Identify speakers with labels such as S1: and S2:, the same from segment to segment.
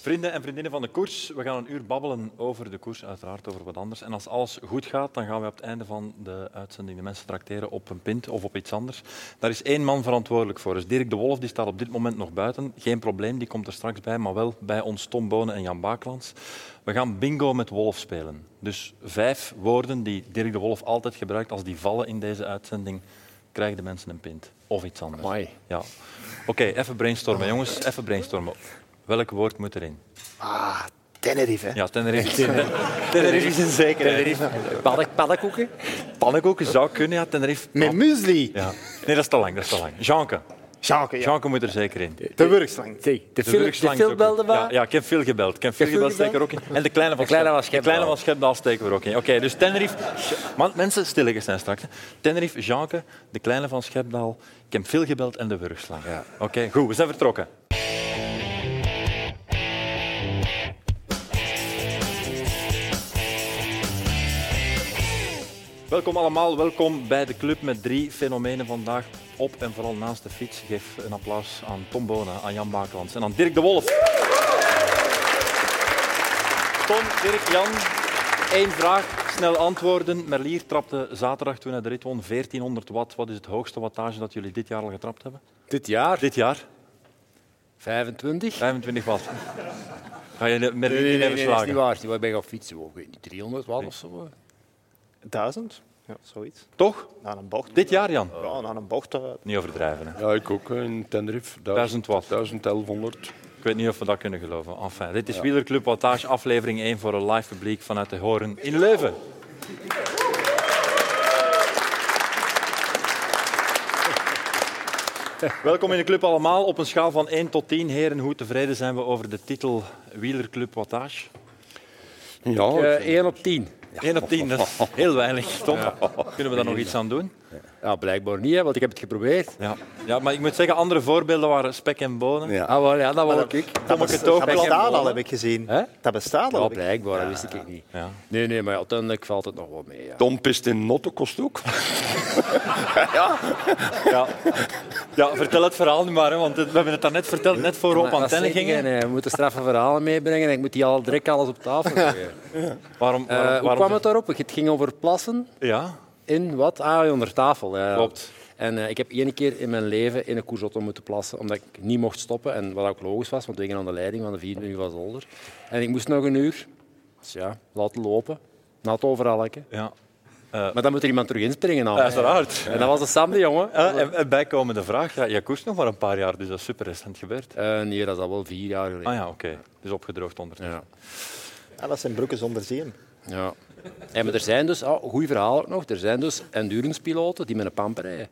S1: Vrienden en vriendinnen van de koers, we gaan een uur babbelen over de koers, uiteraard over wat anders. En als alles goed gaat, dan gaan we op het einde van de uitzending de mensen trakteren op een pint of op iets anders. Daar is één man verantwoordelijk voor. Dus Dirk de Wolf die staat op dit moment nog buiten. Geen probleem, die komt er straks bij, maar wel bij ons Tom Bonen en Jan Baaklands. We gaan bingo met Wolf spelen. Dus vijf woorden die Dirk de Wolf altijd gebruikt als die vallen in deze uitzending, krijgen de mensen een pint of iets anders.
S2: Amai.
S1: Ja. Oké, even brainstormen, jongens. Even brainstormen. Welk woord moet erin?
S2: Ah, Tenerife.
S1: Ja, Tenerife. Tenerife is een zekerheid.
S2: Paddak, paddakoeken.
S1: Pannenkoeken zou kunnen, ja, Tenerife.
S3: Met muesli.
S1: Ja. Nee, dat is te lang, dat is te lang. Jeanke.
S3: Sjaak, ja.
S1: Jeanke moet er zeker in. De
S3: De wurgslang.
S2: Zeg, de, Phil- de
S1: wurgslang is
S2: Phil
S1: ook-
S2: belde maar.
S1: Ja, ja, ik heb veel gebeld. Ik heb veel
S2: Phil
S1: gebeld,
S2: gebeld?
S1: zeker ook in. En de kleine van
S2: De kleine van
S1: Schep- De
S2: Schepdaal.
S1: kleine van Schepdaal steken we er ook in. Oké, dus Tenerife... Man, mensen, stilletjes zijn straks. hè. Tenerife, Jeanke, de kleine van Schepdaal, ik heb veel gebeld en de wurgslang. Oké, goed, we zijn vertrokken. Welkom allemaal, welkom bij de club met drie fenomenen vandaag. Op en vooral naast de fiets. Geef een applaus aan Tom Bona, aan Jan Baaklands en aan Dirk de Wolf. Tom, Dirk, Jan, één vraag, snel antwoorden. Merlier trapte zaterdag toen hij de rit won 1400 watt. Wat is het hoogste wattage dat jullie dit jaar al getrapt hebben?
S2: Dit jaar,
S1: Dit jaar?
S2: 25.
S1: 25 watt. Ga je de Merlier
S2: Nee, nee,
S1: niet
S2: nee,
S1: hebben
S2: dat is niet
S1: slagen?
S2: waar. Ik ben gaan fietsen. Oh, ik weet niet, 300 watt of zo.
S3: Duizend? Ja, zoiets.
S1: Toch?
S3: Na een bocht.
S1: Dit jaar, Jan?
S3: Ja, na een bocht. eh,
S1: Niet overdrijven. Hè.
S4: Ja, ik ook. eh, In Tenerife.
S1: 1000 watt.
S4: 1100.
S2: Eh,
S1: Ik weet niet of we dat kunnen geloven. Enfin, dit is Wielerclub Wattage, aflevering 1 voor een live publiek vanuit de Horen in Leuven. Welkom in de club allemaal. Op een schaal van 1 tot 10, heren, hoe tevreden zijn we over de titel Wielerclub Wattage?
S4: Ja, ik vind-
S2: 1 op 10.
S1: 1 op 10, dat is heel weinig. Tom, kunnen we daar nog iets aan doen?
S2: Ja, blijkbaar niet, hè, want ik heb het geprobeerd.
S1: Ja. ja, maar ik moet zeggen, andere voorbeelden waren spek en bonen.
S4: Ja.
S2: Ah, wel, ja, dat wou ik.
S1: Kom ik het ook
S3: Dat bestaat
S1: wel.
S3: al, heb ik gezien.
S2: Hè?
S3: Dat bestaat al.
S2: Ja,
S3: heb ik-
S2: blijkbaar, dat wist ik niet.
S1: Ja.
S2: Nee, nee, maar uiteindelijk valt het nog wel mee. Ja.
S4: Tom pist in Nottekost ook.
S1: Ja. ja, vertel het verhaal nu maar, hè, want het- we hebben het daarnet verteld, net voor we op
S2: Maar dat
S1: antenne
S2: zijn dingen,
S1: gingen.
S2: hè. We moeten straffe verhalen meebrengen en ik moet die al direct alles op tafel gooien.
S1: Waarom,
S2: Eh,
S1: Eh, waarom,
S2: hoe
S1: waarom-
S2: kwam het daarop? Het ging over plassen.
S1: Ja,
S2: In wat? Ah, onder tafel. ja.
S1: Klopt.
S2: En eh, ik heb één keer in mijn leven in een koersauto moeten plassen, omdat ik niet mocht stoppen. En wat ook logisch was, want we gingen aan de leiding van de 24 uur was older. En ik moest nog een uur. Dus ja, laten lopen. Nat overal. hè.
S1: ja.
S2: Maar dan moet er iemand terug inspringen. Dan.
S1: uiteraard.
S2: En dat was de Sam, die jongen.
S1: Eh, en, en bijkomende vraag, ja, je koerst nog maar een paar jaar, dus dat is super recent gebeurd.
S2: Eh, nee, dat is al wel vier jaar geleden.
S1: Ah ja, oké. Dus opgedroogd ondertussen.
S2: ja.
S3: Ja, dat zijn broeken zonder zeem.
S2: Ja. En maar er zijn dus, oh, goed verhaal ook nog, er zijn dus endurance-piloten die met een pamper rijden.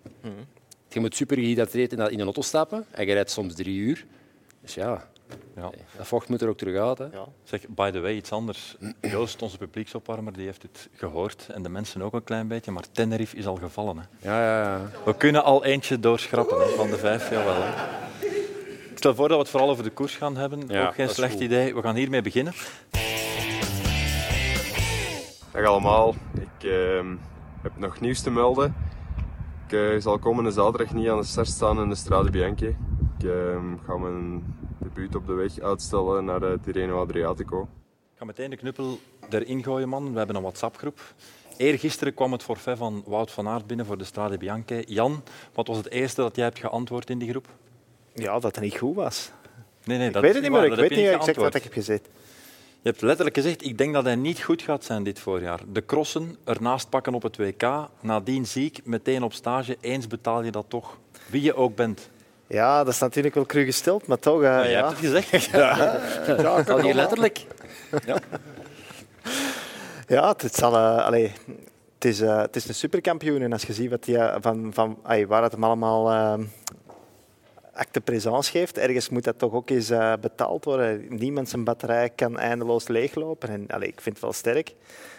S2: Je moet super gehydrateerd in, dat- in een auto stappen en je rijdt soms drie uur. Dus ja,
S1: Ja.
S2: dat vocht moet er ook terug uit. Hè.
S3: Ja.
S1: Zeg, by the way, iets anders. Joost, onze publieksopwarmer, die heeft het gehoord. En de mensen ook een klein beetje, maar Tenerife is al gevallen. Hè.
S2: Ja, ja, ja.
S1: We kunnen al eentje doorschrappen hè, van de vijf, jawel. hè. Ik stel voor dat we het vooral over de koers gaan hebben.
S2: Ja,
S1: Ook geen
S2: dat is
S1: slecht
S2: goed.
S1: idee. We gaan hiermee beginnen.
S5: Dag allemaal, ik ehm, heb nog nieuws te melden. Ik eh, zal komende zaterdag niet aan de start staan in de Strade Bianche. Ik ehm, ga mijn debuut op de weg uitstellen naar de Tirreno Adriatico.
S1: Ik ga meteen de knuppel erin gooien, man. We hebben een WhatsApp-groep. Eergisteren kwam het forfait van Wout van Aert binnen voor de Strade Bianche. Jan, wat was het eerste dat jij hebt geantwoord in die groep?
S3: ja, dat het niet goed was.
S1: Nee, nee,
S3: Ik
S1: dat
S3: weet
S1: is
S3: het niet
S1: waar,
S3: meer. Ik
S1: dat heb
S3: weet niet
S1: je
S3: exact wat
S1: geantwoord.
S3: ik heb gezegd.
S1: Je hebt letterlijk gezegd, ik denk dat hij niet goed gaat zijn dit voorjaar. De crossen, ernaast pakken op het WK, nadien ziek, meteen op stage. Eens betaal je dat toch, wie je ook bent.
S3: Ja, dat is natuurlijk wel cru gesteld, maar toch... eh,
S1: Je
S3: ja.
S1: hebt het gezegd.
S2: Al hier letterlijk.
S3: Ja, het zal, eh, allee, het, is, eh, het is een superkampioen. En als je ziet wat die, eh, van, van, ai, waar het hem allemaal eh, acte présence geeft, ergens moet dat toch ook eens eh, betaald worden. Niemand zijn batterij kan eindeloos leeglopen. En, allee, ik vind het wel sterk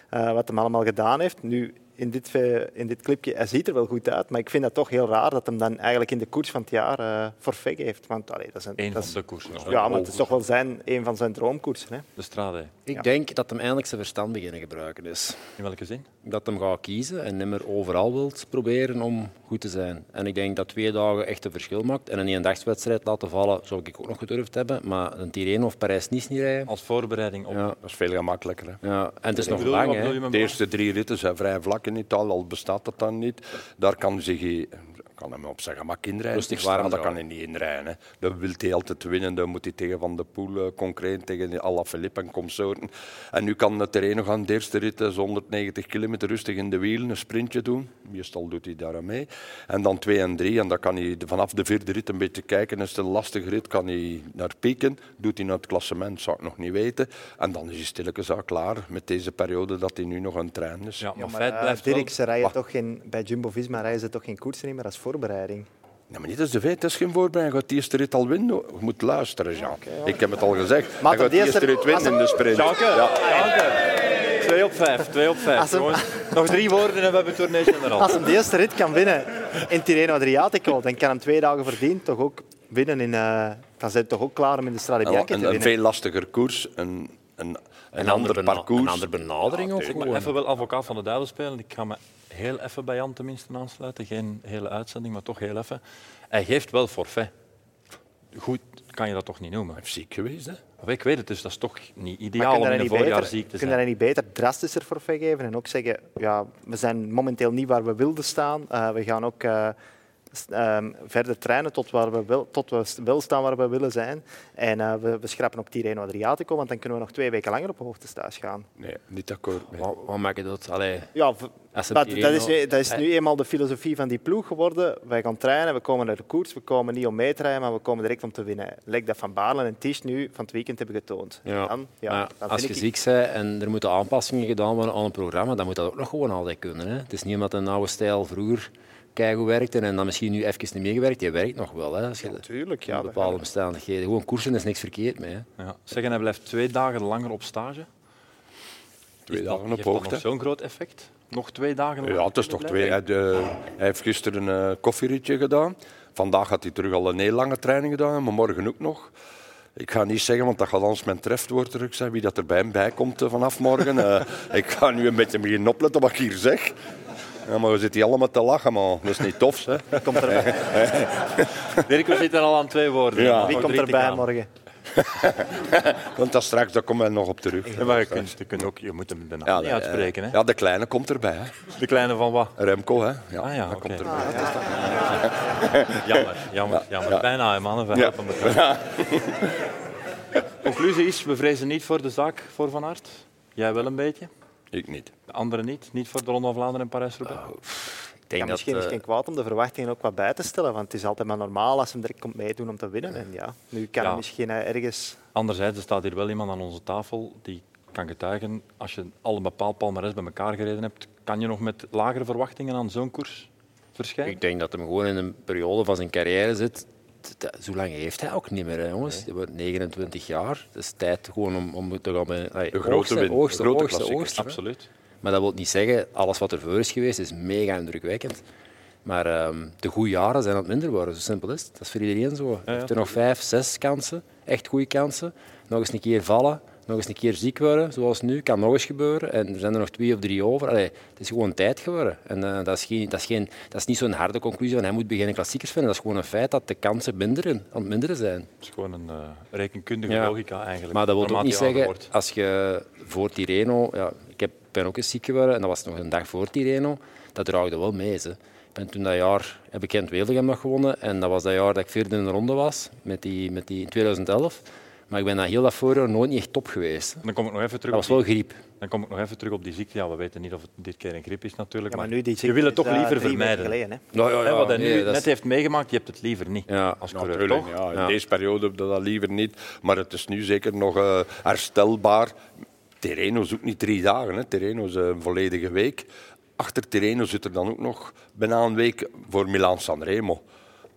S3: eh, wat hem allemaal gedaan heeft. Nu in dit, ve- in dit clipje, hij ziet er wel goed uit, maar ik vind dat toch heel raar dat hem dan eigenlijk in de koers van het jaar eh forfait heeft. Want allee, dat is een,
S1: Eén
S3: dat
S1: van
S3: is-
S1: de koersen. Oh,
S3: Ja, maar het is toch wel zijn, een van zijn droomkoersen. Hè?
S1: De strade.
S2: Ik
S3: Ja.
S2: denk dat hem eindelijk zijn verstand beginnen gebruiken is.
S1: In welke zin?
S2: dat hem gaat kiezen en nimmer overal wilt proberen om goed te zijn. En ik denk dat twee dagen echt een verschil maakt. En een eendagswedstrijd laten vallen zou ik ook nog gedurfd hebben, maar een Tirreno of Parijs-Nice niet rijden.
S1: Als voorbereiding op.
S2: Ja.
S4: Dat is veel gemakkelijker. Hè.
S2: Ja, en het is nog
S1: bedoel,
S2: lang,
S1: wat bedoel je
S2: hè.
S1: met
S4: De eerste drie ritten zijn vrij vlak in Italië, al bestaat dat dan niet. Daar kan, zich, hij- kan hem op zijn gemak inrijden.
S2: Rustig
S4: Die straat,
S2: warm
S4: dat kan hij
S2: houden.
S4: niet inrijden. Hè. Dan wil hij altijd winnen. Dan moet hij tegen Van der Poel, eh, concreet tegen Alaphilippe en consorten. En nu kan het terrein nog aan de eerste rit, eh, zo'n 190 kilometer rustig in de wielen, een sprintje doen. Meestal doet hij daar aan mee. En dan twee en drie. En dan kan hij de- vanaf de vierde rit een beetje kijken. Is het een lastige rit, kan hij naar pieken. Doet hij naar het klassement, zou ik nog niet weten. En dan is hij stilletjes al klaar met deze periode dat hij nu nog aan het trainen is.
S1: Ja, maar,
S3: Ja, maar,
S1: feit
S3: eh,
S1: blijft
S3: Dirk,
S1: wel...
S3: ze rijden toch geen, bij Jumbo-Visma rijden ze toch geen koersen in, maar als voorbereiding.
S4: Nee, maar niet als de feit, dat is geen voorbereiding. Hij gaat de eerste rit al winnen. Je moet luisteren, Jean. Ik heb het al gezegd.
S3: Maar
S4: hij gaat
S3: de
S4: de
S3: eerste-
S4: eerste rit winnen in de sprint.
S1: Twee op vijf, twee op vijf.
S3: Als hem-
S1: jongens. Nog drie woorden en we hebben Tournee General.
S4: dus-
S3: Als hij de eerste rit kan winnen in Tirreno Adriatico, dan kan hem twee dagen verdiend toch ook winnen in... eh, dan zijn we toch ook klaar om in de Strade
S4: En
S3: Bianche te
S4: een,
S3: winnen.
S4: een veel lastiger koers, een, een, een, ander,
S2: bena-
S4: parcours.
S2: Een andere benadering of
S1: Ik
S2: gewoon?
S1: maar even wel advocaat van de duivel spelen. Ik ga me heel even bij Jan tenminste aansluiten. Geen hele uitzending, maar toch heel even. Hij geeft wel forfait. Goed kan je dat toch niet noemen?
S4: Hij is ziek geweest, hè?
S1: Maar ik weet het, dus dat is toch niet
S3: Maar
S1: ideaal
S3: kunnen
S1: om in
S3: wij
S1: een
S3: niet
S1: voorjaar
S3: beter-
S1: ziek te
S3: kunnen wij
S1: zijn.
S3: niet beter drastischer forfait geven en ook zeggen, ja, we zijn momenteel niet waar we wilden staan. Eh, we gaan ook eh, s- ehm, verder trainen tot, waar we wel, tot we s- wel staan waar we willen zijn. En eh, we, we schrappen ook Tirreno Adriatico, want dan kunnen we nog twee weken langer op hoogtestage gaan.
S4: Nee, niet akkoord. mee.
S2: Wat, wat maakt dat? Allee,
S3: Ja, v-
S2: Als ze
S3: maar
S2: Tirreno-
S3: dat, is nu, dat is nu eenmaal de filosofie van die ploeg geworden. Wij gaan trainen, we komen naar de koers, we komen niet om mee te rijden, maar we komen direct om te winnen. Lek dat Van Baarle en Tisch nu van het weekend hebben getoond.
S2: ja.
S3: Dan, ja,
S2: Maar
S3: dan
S2: als
S3: vind
S2: je
S3: ik-
S2: ziek bent en er moeten aanpassingen gedaan worden aan een programma, dan moet dat ook nog gewoon altijd kunnen. Hè. Het is niet omdat een oude stijl vroeger keigoed werkte en dan misschien nu even niet meer gewerkt. Die werkt nog wel. Hè, als je
S3: Tuurlijk, ja.
S2: in
S3: dat-
S2: bepaalde omstandigheden. Gewoon koersen is niks verkeerd mee. Hè.
S1: Ja. Zeggen, hij blijft twee dagen langer op stage.
S4: Twee dagen op
S1: Heeft dat nog
S4: hoogte.
S1: zo'n groot effect? Nog twee dagen langer
S4: Ja, het is
S1: kunnen
S4: toch twee. Hij, eh, hij heeft gisteren een eh, koffieritje gedaan. Vandaag had hij terug al een heel lange training gedaan, maar morgen ook nog. Ik ga niet zeggen, want dat gaat anders mijn treft worden terug zijn, wie dat er bij hem bij komt eh, vanaf morgen. Eh, ik ga nu een beetje beginnen opletten wat ik hier zeg. Ja, maar we zitten hier allemaal te lachen, man. Dat is niet tof, hè?
S3: Komt er,
S1: blijven? Dirk, we zitten al aan twee woorden.
S4: Ja.
S1: Nog
S3: wie komt
S1: drie te
S3: erbij
S1: gaan.
S3: morgen?
S4: Want dat straks, daar komen wij nog op terug.
S1: Ja, maar je, kunt, je, kunt ook, je moet hem de naam niet
S4: nee,
S1: uitspreken.
S4: eh,
S1: Hè?
S4: Ja, de kleine komt erbij. Hè.
S1: De kleine van wat?
S4: Remco, hè? Ja,
S1: Ah ja,
S4: dat
S1: oké.
S4: komt erbij.
S1: Jammer, jammer, jammer.
S4: ja.
S1: Bijna, hè, mannen. We helpen elkaar. Conclusie is, we vrezen niet voor de zaak voor Van Aert. Jij wel een beetje,
S4: Ik niet.
S1: de anderen niet. Niet voor de Ronde van Vlaanderen en Parijs-Roubaix.
S4: Oh.
S2: Ik denk
S3: Ja, misschien is
S2: eh,
S3: het geen kwaad om de verwachtingen ook wat bij te stellen, want het is altijd maar normaal als hem direct komt meedoen om te winnen. En ja, nu kan
S1: Ja.
S3: hij misschien eh, ergens...
S1: Anderzijds, er staat hier wel iemand aan onze tafel die kan getuigen, als je al een bepaald palmarès bij elkaar gereden hebt, kan je nog met lagere verwachtingen aan zo'n koers verschijnen?
S2: Ik denk dat hem gewoon in een periode van zijn carrière zit. t- t- Zo lang heeft hij ook niet meer, hè, jongens. Hij wordt 29 jaar. Het is tijd gewoon om, om te gaan bij allee,
S4: grote
S2: oogsten,
S4: win, de
S2: oogsten,
S4: grote
S2: oogsten,
S4: klassieker.
S2: oogsten, hè.
S1: Absoluut.
S2: Maar dat wil niet zeggen, alles wat er voor is geweest is mega indrukwekkend. Maar ehm, de goede jaren zijn aan het minder worden, zo simpel is het. Dat is voor iedereen zo. Hij heeft er nog vijf, zes kansen, echt goede kansen. Nog eens een keer vallen, nog eens een keer ziek worden, zoals nu. Kan nog eens gebeuren. En er zijn er nog twee of drie over. Allee, het is gewoon tijd geworden. En eh, dat, is geen, dat, is geen, dat is niet zo'n harde conclusie van hij moet beginnen klassiekers vinden. Dat is gewoon een feit dat de kansen minderen, aan het minderen zijn.
S1: Het is gewoon een eh, rekenkundige
S2: Ja.
S1: logica eigenlijk.
S2: Maar dat wil ook
S1: naarmate
S2: niet
S1: je ouder
S2: zeggen,
S1: wordt.
S2: als je voor Tireno... Ja, ik heb, ben ook eens ziek geworden en dat was nog een dag voor Tireno. Dat draagde wel mee. Ze. Ik ben toen dat jaar heb ik Kent Wevelgem nog gewonnen. En dat was dat jaar dat ik vierde in de ronde was, met die, met die in 2011. Maar ik ben dat heel dat voorjaar nooit niet echt top geweest. hè.
S1: Dan kom ik nog even terug
S2: Dat was
S1: op die-
S2: wel griep.
S1: Dan kom ik nog even terug op die ziekte. Ja, we weten niet of het dit keer een griep is natuurlijk.
S3: Ja, maar
S1: maar
S3: nu die
S1: je wil het toch
S3: is, eh,
S1: liever
S3: drie weken
S1: vermijden.
S3: geleden, hè.
S2: Nou, ja,
S1: Hè, wat hij
S2: nee,
S1: nu
S2: dat
S1: net
S2: is-
S1: heeft meegemaakt, je hebt het liever niet
S2: Ja.
S1: als eh, coureur,
S4: Natuurlijk,
S1: toch?
S4: ja. In deze periode heb je dat liever niet. Maar het is nu zeker nog eh, herstelbaar. Terreno is ook niet drie dagen. Hè. Terreno is een volledige week. Achter Terreno zit er dan ook nog bijna een week voor Milan Sanremo.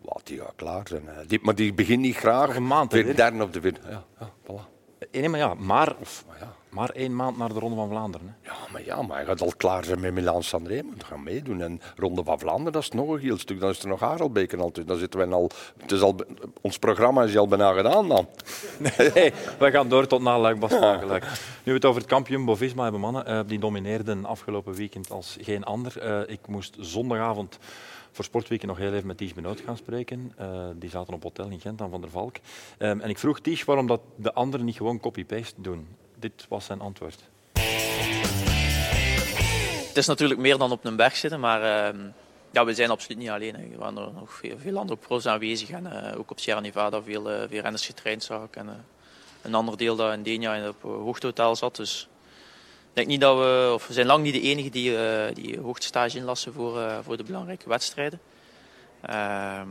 S4: Wat, die gaat klaar zijn. hè. Die, maar die begint niet graag.
S1: Nog een maand, hè,
S4: Weer
S1: Dirk?
S4: derde op de vierde. Ja, ja, voilà.
S1: Eh, Nee, maar ja, maar of,
S4: Maar ja.
S1: Maar één maand naar de Ronde van Vlaanderen. Hè.
S4: Ja, maar ja, maar hij gaat al klaar zijn met Milaan-San Remo. Dan gaan meedoen. En Ronde van Vlaanderen, dat is nog een heel stuk. Dan is er nog Harelbeek en al. tussen. Dan zitten wij al, het is al... Ons programma is al bijna gedaan dan.
S1: Nee, we gaan door tot na luik Bastaken. Nu we het over het kampioen Bovisma hebben, mannen. eh, die domineerden afgelopen weekend als geen ander. Eh, ik moest zondagavond voor Sportweken nog heel even met Ties Benoot gaan spreken. Eh, die zaten op hotel in Gent aan Van der Valk. Eh, en ik vroeg Ties waarom dat de anderen niet gewoon copy-paste doen. Dit was zijn antwoord.
S6: Het is natuurlijk meer dan op een berg zitten, maar eh, ja, we zijn absoluut niet alleen. Hè. Er waren er nog veel, veel andere pro's aanwezig. En eh, ook op Sierra Nevada veel, eh, veel renners getraind zag ik. En, eh, een ander deel dat in Denia in op een hoogtehotel zat. Dus ik denk niet dat we, of we zijn lang niet de enige die, eh die hoogtestage inlassen voor, eh, voor de belangrijke wedstrijden. Ehm,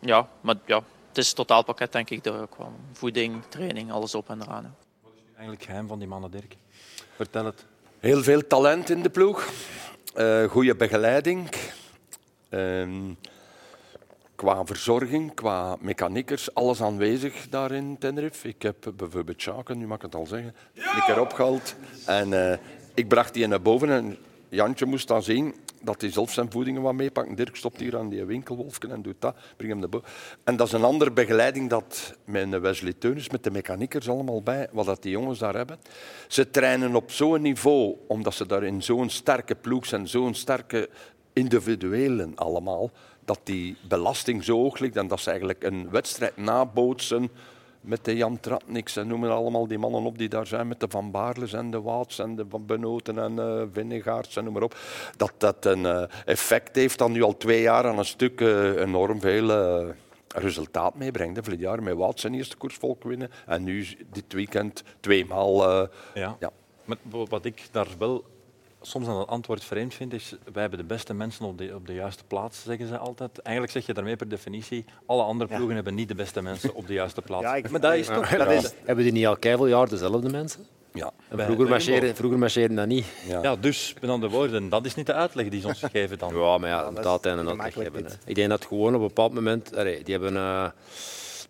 S6: ja, maar ja, het is het totaalpakket denk ik. Er kwam voeding, training, alles op en eraan. hè.
S1: Eigenlijk geheim van die mannen, Dirk. Vertel het.
S4: Heel veel talent in de ploeg. Eh goede begeleiding. Ehm, qua verzorging, qua mechaniekers, alles aanwezig daar in Tenerife. Ik heb bijvoorbeeld Sjaken, nu mag ik het al zeggen, een keer opgehaald. En eh, ik bracht die naar boven en Jantje moest dan zien dat hij zelf zijn voedingen wat meepakt. Dirk stopt hier aan die winkelwolfje en doet dat, breng hem naar boven. En dat is een andere begeleiding dat mijn Wesley Teunis met de mechaniekers allemaal bij, wat dat die jongens daar hebben. Ze trainen op zo'n niveau, omdat ze daar in zo'n sterke ploeg zijn, zo'n sterke individuelen allemaal, dat die belasting zo hoog ligt en dat ze eigenlijk een wedstrijd nabootsen met de Jan Tratniks en noem maar allemaal die mannen op die daar zijn, met de Van Baarles en de Waats en de Van Benoten en eh Vinnegaards en noem maar op, dat dat een eh, effect heeft dat nu al twee jaar aan een stuk eh, enorm veel eh, resultaat meebrengt. hè. Vorig jaar met Waats zijn eerste koersvolk winnen en nu is dit weekend tweemaal... eh,
S1: Ja.
S4: ja.
S1: Maar wa- wat ik daar wel soms aan het antwoord vreemd vind, is wij hebben de beste mensen op de, op de juiste plaats, zeggen ze altijd. Eigenlijk zeg je daarmee per definitie, alle andere ploegen hebben niet de beste mensen op de juiste plaats.
S3: Ja, ik-
S1: maar dat is toch...
S3: Dat is,
S2: Hebben die niet al keiveel jaar dezelfde mensen?
S4: ja.
S2: En
S1: Bij-
S2: vroeger,
S1: bij
S2: marcheren,
S1: Jumbo.
S2: vroeger marcheren dat niet.
S1: Ja. dus, met andere woorden, dat is niet de uitleg die ze ons geven dan.
S2: Ja, maar ja, dat
S3: dat
S2: moet
S3: is
S2: altijd een uitleg
S3: gemakkelijk
S2: hebben. hè.
S3: dit.
S2: Ik denk dat gewoon op een bepaald moment... allee, die, hebben, eh,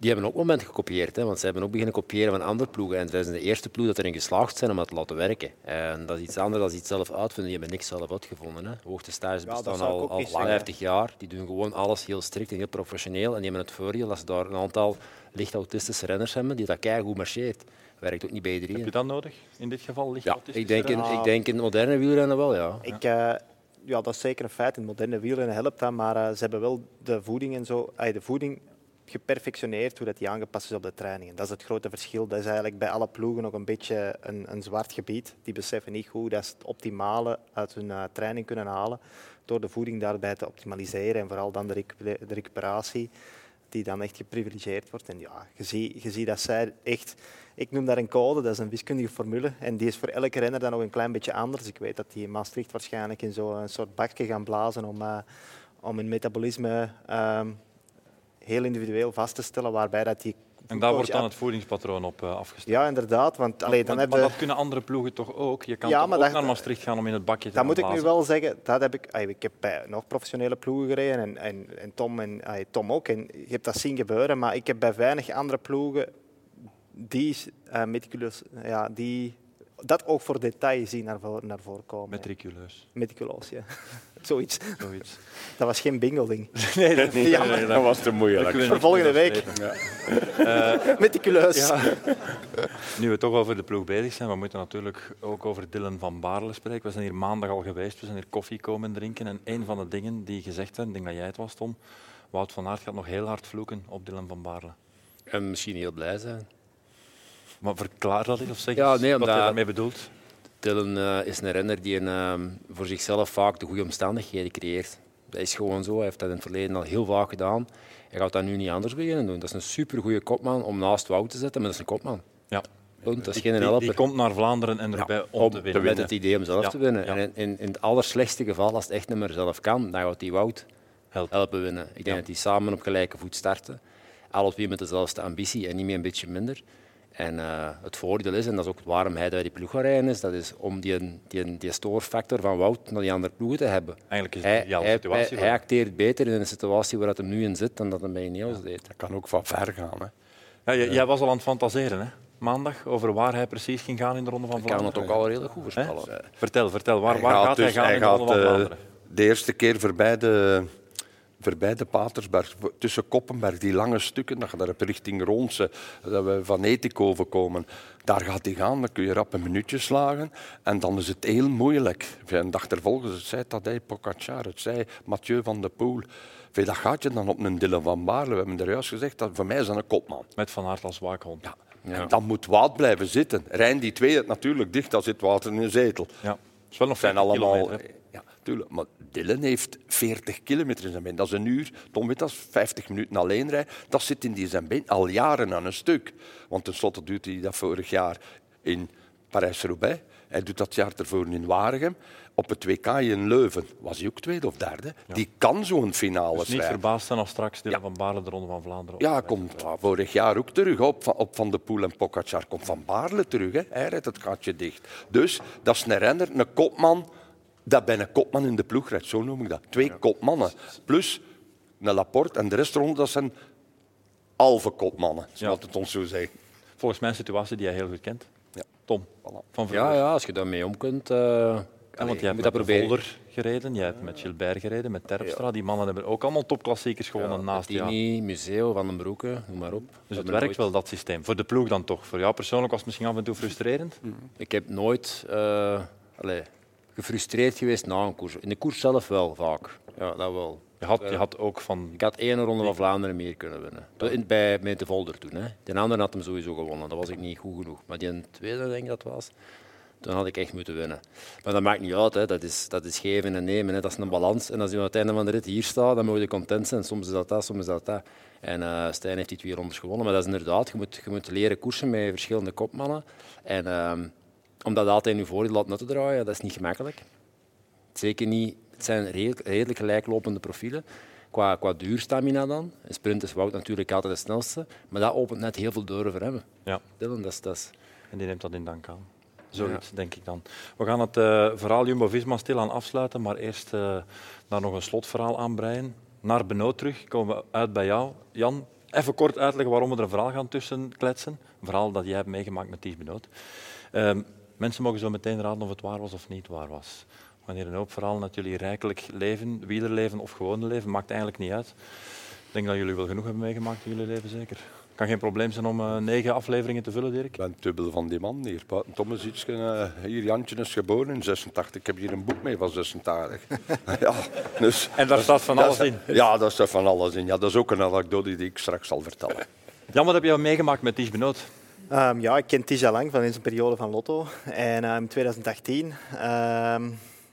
S2: die hebben ook moment gekopieerd. Hè, want ze hebben ook beginnen kopiëren van andere ploegen. En zij zijn de eerste ploeg dat erin geslaagd zijn om dat te laten werken. En dat is iets anders dan ze iets zelf uitvinden. Die hebben niks zelf uitgevonden. Hè. Hoogtestages
S3: dat
S2: bestaan
S3: zou ik ook
S2: al, al
S3: niet zeggen.
S2: 50 jaar. Die doen gewoon alles heel strikt en heel professioneel. En die hebben het voordeel dat ze daar een aantal licht autistische renners hebben die dat keigoed marcheert. Werkt ook niet bij E iedereen.
S1: Heb je dat nodig? In dit geval ligt
S4: Ja,
S1: autistische
S2: Ik denk, in,
S1: renners?
S2: ik denk in moderne wielrennen wel, ja.
S3: ik, eh, ja, dat is zeker een feit. In moderne wielrennen helpt dat, maar eh, ze hebben wel de voeding en zo, ay, de voeding geperfectioneerd, hoe dat die aangepast is op de trainingen. Dat is het grote verschil. Dat is eigenlijk bij alle ploegen nog een beetje een, een zwart gebied. Die beseffen niet goed dat ze het optimale uit hun eh, training kunnen halen door de voeding daarbij te optimaliseren en vooral dan de, recu- de recuperatie die dan echt geprivilegeerd wordt. En ja, je ziet, je ziet dat zij echt... Ik noem daar een code, dat is een wiskundige formule. En die is voor elke renner dan nog een klein beetje anders. Ik weet dat die in Maastricht waarschijnlijk in zo'n soort bakje gaan blazen om, eh, om hun metabolisme ehm, heel individueel vast te stellen, waarbij dat die...
S1: En daar wordt dan het voedingspatroon op eh, afgestemd.
S3: Ja, inderdaad, want allee, dan
S1: maar,
S3: heb
S1: maar
S3: je...
S1: dat kunnen andere ploegen toch ook? Je kan
S3: Ja,
S1: toch
S3: maar
S1: ook
S3: dat-
S1: naar Maastricht gaan om in het bakje te
S3: Dat
S1: gaan
S3: moet ik nu
S1: blazen?
S3: wel zeggen. Dat heb ik, ay, ik heb bij nog professionele ploegen gereden en, en, en Tom en ay, Tom ook. En je hebt dat zien gebeuren, maar ik heb bij weinig andere ploegen die, eh, meticuleus, ja, die dat ook voor detail zien naar, vo- naar voren komen.
S1: Metriculeus,
S3: Meticuleus, ja. Zoiets.
S1: zoiets.
S3: Dat was geen bingelding.
S1: Nee, dat niet.
S3: Ja,
S4: Dat was te moeilijk.
S1: kunnen we Eh,
S3: Voor
S1: niet
S3: volgende
S1: meer
S3: week. Meticuleus.
S1: Nu we toch over de ploeg bezig zijn, we moeten natuurlijk ook over Dylan van Baarle spreken. We zijn hier maandag al geweest, we zijn hier koffie komen drinken. En een van de dingen die gezegd werd, ik denk dat jij het was, Tom, Wout van Aert gaat nog heel hard vloeken op Dylan van Baarle.
S2: En misschien heel blij zijn.
S1: Maar verklaar dat eens of zeg
S2: Ja,
S1: eens
S2: nee,
S1: wat je
S2: omdat-
S1: daarmee bedoelt.
S2: Tillen eh, is een renner die een, ehm, voor zichzelf vaak de goede omstandigheden creëert. Dat is gewoon zo. Hij heeft dat in het verleden al heel vaak gedaan. Hij gaat dat nu niet anders beginnen doen. Dat is een supergoeie kopman om naast Wout te zetten, maar dat is een kopman.
S1: Ja.
S2: Punt. Dat is geen
S1: Die,
S2: helper.
S1: die komt naar Vlaanderen en erbij om, te winnen.
S2: Met het idee om zelf
S1: Ja,
S2: te winnen.
S1: ja.
S2: En in, in, in het allerslechtste geval, als het echt niet meer zelf kan, dan gaat die Wout
S1: Helpen.
S2: helpen winnen. Ik denk dat die samen op gelijke voet starten. Alle twee met dezelfde ambitie en niet meer een beetje minder. En eh, het voordeel is, en dat is ook waarom hij daar die ploeg gaat rijden, is, dat is om die, die, die stoorfactor van Wout naar die andere ploegen te hebben.
S1: Eigenlijk is het een
S2: Hij,
S1: ideale
S2: hij,
S1: Dus situatie.
S2: hij-
S1: voor
S2: hij
S1: hem.
S2: acteert beter in een situatie waar het hem nu in zit dan dat hem bij Ineos deed.
S4: Dat kan ook van ver gaan. Hè.
S1: Ja, jij, jij was al aan het fantaseren, hè? maandag over waar hij precies ging gaan in de Ronde van
S2: Ik kan
S1: Vlaanderen?
S2: het ook al redelijk goed voorspellen.
S1: Hè? Vertel, vertel. Waar, waar
S4: Hij
S1: gaat,
S4: gaat
S1: hij
S4: dus-
S1: gaan
S4: hij
S1: in de Ronde
S4: gaat,
S1: van
S4: eh,
S1: Vlaanderen?
S4: De eerste keer voorbij de, voorbij de Patersberg, v- tussen Koppenberg, die lange stukken, dat je daar hebt richting Ronse, dat we van Etikoven komen. Daar gaat hij gaan, dan kun je rap een minuutje slagen. En dan is het heel moeilijk. Een dag ervolgens, het zei Tadej Pogacar, het zei Mathieu van der Poel. Vind je, Dat gaat je dan op een Dylan van Baarle. We hebben er juist gezegd, dat voor mij is dat een kopman.
S1: Met Van Aert als waakhond.
S4: Ja. En dan moet Wout blijven zitten. Rijn die twee het natuurlijk dicht, dan zit Wout in een zetel.
S1: Ja. Het is wel nog
S4: Het zijn
S1: 40
S4: allemaal.
S1: kilometer,
S2: eh,
S1: hè.
S4: Ja, tuurlijk. Maar Dylan heeft 40 kilometer in zijn been. Dat is een uur. Tom weet dat is 50 minuten alleen rijden. Dat zit in die zijn been al jaren aan een stuk. Want tenslotte doet hij dat vorig jaar in Parijs-Roubaix. Hij doet dat jaar ervoor in Waregem. Op het WK in Leuven was hij ook tweede of derde. Die kan zo'n finale
S1: Dus niet
S4: rijden.
S1: verbaasd zijn als straks Dylan
S4: Ja.
S1: van Baarle de Ronde van Vlaanderen
S4: Ja,
S1: op-
S4: komt ja, vorig jaar ook terug hè, op, Van- op Van de Poel en Pogacar. Komt Van Baarle terug, hè. hij redt het gaatje dicht. Dus dat is een renner, een kopman, dat bij een kopman in de ploeg rijdt, zo noem ik dat. Twee kopmannen, plus een Laporte en de rest rond, dat zijn halve kopmannen, zoals het ons zo zeggen.
S1: Volgens mij een situatie die hij heel goed kent.
S4: Ja.
S1: Tom,
S4: Voilà.
S1: van
S2: Ja,
S1: Verhoor.
S2: ja, als je daarmee om kunt. eh,
S1: Ja,
S2: allee,
S1: want jij
S2: moet
S1: hebt
S2: dat
S1: met de
S2: proberen.
S1: Volder gereden, jij hebt met Gilbert gereden, met Terpstra. Die mannen hebben ook allemaal topklassiekers gewonnen naast jou.
S2: Tini, Museo, Van den Broeke, noem maar op.
S1: Dus
S2: Dat
S1: het
S2: me
S1: werkt
S2: nooit-
S1: wel, dat systeem. Voor de ploeg dan toch. Voor jou persoonlijk was het misschien af en toe frustrerend.
S2: Ik heb nooit eh, allee, gefrustreerd geweest na een koers. In de koers zelf wel vaak. Ja, dat wel.
S1: Je had, je had ook van...
S2: Ik had één ronde van Vlaanderen meer kunnen winnen. In- Bij, met de Volder toen. Hè. De andere had hem sowieso gewonnen. Dat was ik niet goed genoeg. Maar die tweede, denk ik dat was, toen had ik echt moeten winnen. Maar dat maakt niet uit. Hè. Dat, is, dat is geven en nemen. Hè. Dat is een balans. En als je aan het einde van de rit hier staat, dan moet je content zijn. Soms is dat dat, soms is dat dat. En eh, Stijn heeft die twee rondes gewonnen. Maar dat is inderdaad, je moet, je moet leren koersen met verschillende kopmannen. En ehm, om dat altijd in je voordeel laten te draaien, dat is niet gemakkelijk. Zeker niet. Het zijn redelijk, redelijk gelijklopende profielen. Qua, qua duurstamina dan. Een sprint is Wout natuurlijk altijd de snelste. Maar dat opent net heel veel deuren voor hem.
S1: Ja.
S2: Dylan, dat is... Dat is
S1: En die neemt dat in dank aan. Zoiets, denk ik dan. We gaan het eh, verhaal Jumbo-Visma stilaan afsluiten, maar eerst eh, daar nog een slotverhaal aan breien. Naar Benoot terug, komen we uit bij jou. Jan, even kort uitleggen waarom we er een verhaal gaan tussen kletsen. Een verhaal dat jij hebt meegemaakt met Ties Benoot. Ehm, mensen mogen zo meteen raden of het waar was of niet waar was. Wanneer een hoop verhalen uit jullie rijkelijk leven, wielerleven of gewone leven, maakt eigenlijk niet uit. Ik denk dat jullie wel genoeg hebben meegemaakt in jullie leven, zeker. Kan geen probleem zijn om eh, negen afleveringen te vullen, Dirk.
S4: Ik ben dubbel van die man hier. Buiten Thomas iets, eh, hier Jantje is geboren in 86. Ik heb hier een boek mee van 86. ja, dus
S1: En daar staat van alles in.
S4: Ja, dat staat van alles in. Ja, dat is ook een anekdote die ik straks zal vertellen.
S1: Jan, wat heb je meegemaakt met Ties Benoot?
S3: Ehm, ja, ik ken Tisha Lang van in zijn periode van Lotto. En eh, in 2018 ehm,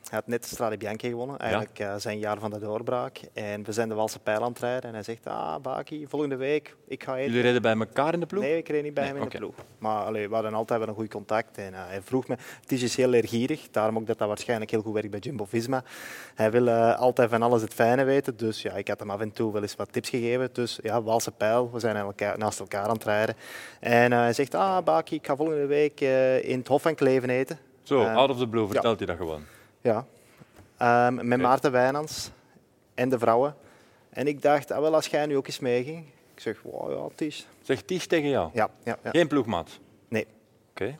S3: hij had net de Strade Bianche gewonnen, eigenlijk eh, zijn jaar van de doorbraak. En we zijn de Walse pijl aan het rijden en hij zegt, ah Baki, volgende week, ik ga eten.
S1: Jullie reden bij elkaar in de ploeg?
S3: Nee, ik reed niet bij
S1: Nee,
S3: hem in
S1: oké.
S3: de ploeg. Maar allee, we hadden altijd wel een goed contact. En eh, hij vroeg me, Ties is dus heel leergierig, daarom ook dat dat waarschijnlijk heel goed werkt bij Jumbo-Visma. Hij wil eh, altijd van alles het fijne weten, dus ja, ik had hem af en toe wel eens wat tips gegeven. Dus ja, Walse pijl, we zijn aan elkaar, naast elkaar aan het rijden. En eh, hij zegt, ah Baki, ik ga volgende week eh, in het Hof van Kleven eten.
S1: Zo,
S3: Eh,
S1: out of the blue vertelt hij dat gewoon.
S3: ja. Ehm, met Maarten Wijnands en de vrouwen. En ik dacht, ah, wel, als jij nu ook eens meeging. Ik zeg, wow, ja, Ties.
S1: Zegt Ties tegen jou?
S3: Ja, ja, ja.
S1: Geen ploegmaat?
S3: Nee.
S1: Oké.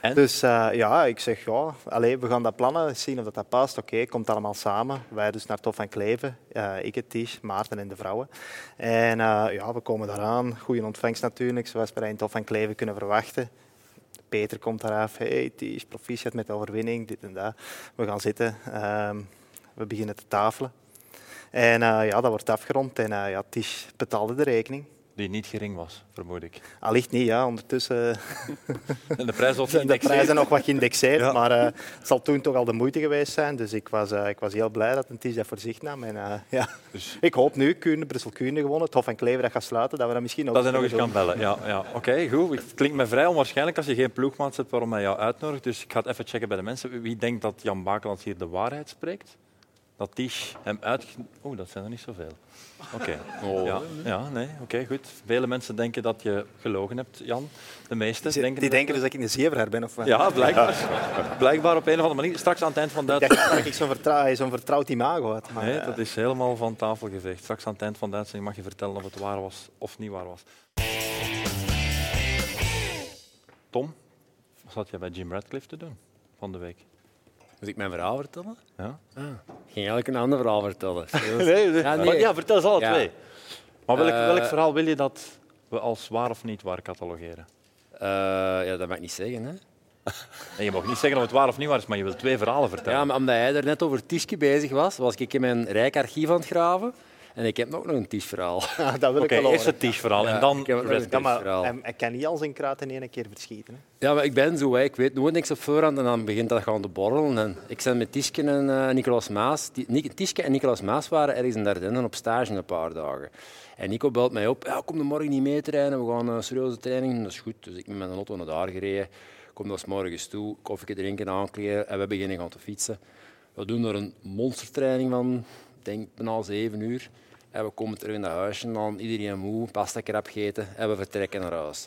S1: En?
S3: Dus eh, ja, ik zeg ja, allee, we gaan dat plannen, zien of dat, dat past. Oké, komt allemaal samen. Wij dus naar Tof van Kleven, eh, ik het Ties, Maarten en de vrouwen. En eh, ja, we komen daaraan. Goede ontvangst natuurlijk, zoals we dat in Tof van Kleven kunnen verwachten. Peter komt eraf, hey Ties, proficiat met de overwinning, dit en dat. We gaan zitten, ehm, we beginnen te tafelen. En eh, ja, dat wordt afgerond en eh, ja, Ties betaalde de rekening.
S1: Die niet gering was, vermoed ik.
S3: Allicht niet, ja, ondertussen...
S1: En de prijs was
S3: zijn de prijzen nog wat geïndexeerd,
S1: Ja.
S3: maar eh, het zal toen toch al de moeite geweest zijn. Dus ik was, eh, ik was heel blij dat een Ties dat voor zich nam. En, eh, ja.
S1: Dus-
S3: Ik hoop nu, Kuurne, Brussel-Kuurne gewonnen, het Hof en Klever dat gaat sluiten, dat we dat misschien nog
S1: Dat hij
S3: eens
S1: nog eens kan
S3: kunnen
S1: bellen. Ja, ja. Oké, goed. Het klinkt me vrij onwaarschijnlijk als je geen ploegmaat hebt waarom hij jou uitnodigt. Dus ik ga het even checken bij de mensen. Wie denkt dat Jan Bakelands hier de waarheid spreekt? Dat Ties hem uit... Oeh, dat zijn er niet zoveel. Oké. Ja, ja, nee, oké, goed. Vele mensen denken dat je gelogen hebt, Jan. De meesten
S3: doen.
S1: denken
S3: Die
S1: dat-
S3: denken dus dat ik in de zeeverhaar ben. Of wat?
S1: Ja, blijkbaar. Blijkbaar op een of andere manier. Straks aan het eind van
S3: Ik
S1: Duits...
S3: dacht dat ik zo'n vertrouw, zo'n vertrouwd imago had. Maar,
S1: Nee,
S3: eh,
S1: dat is helemaal van tafel geveegd. Straks aan het eind van de uitzending mag je vertellen of het waar was of niet waar was. Tom, wat zat jij bij Jim Radcliffe te doen van de week?
S2: Moet ik mijn verhaal vertellen? Ah,
S1: Ja?
S2: Ik ging eigenlijk een ander verhaal vertellen. Ja, nee.
S1: Maar ja, vertel eens alle
S2: Ja.
S1: twee. Maar welk,
S2: Eh,
S1: welk verhaal wil je dat we als waar of niet waar catalogeren?
S2: Eh, ja, dat mag ik niet zeggen. Hè?
S1: En je mag niet zeggen of het waar of niet waar is, maar je wil twee verhalen vertellen.
S2: Ja, maar omdat hij er net over Tischke bezig was, was ik in mijn rijk archief aan het graven. En ik heb nog een Tisch-verhaal.
S3: dat wil
S1: Oké,
S3: ik wel
S1: eerst het Tisch-verhaal en dan
S2: ik heb het wel
S1: Radcliffe.
S3: Ja, maar
S2: verhaal.
S3: hij, hij kan niet al zijn kraat in één keer verschieten. Hè.
S2: Ja, maar ik ben zo, hè. ik weet nooit niks op voorhand en dan begint dat gewoon te borrelen. En ik zat met Tiske en eh, Nicolas Maas. Die- Ni- Tiske en Nicolas Maas waren ergens in Dardenne op stage een paar dagen. En Nico belt mij op, ja, kom de morgen niet mee trainen, we gaan een serieuze training doen, dat is goed. Dus ik ben met een auto naar daar gereden, kom dan 's morgens toe, koffie drinken, aankleden en we beginnen gaan te fietsen. We doen er een monstertraining van, ik denk bijna zeven uur. En we komen terug naar huis en dan iedereen moe, pasta krap eten en we vertrekken naar huis.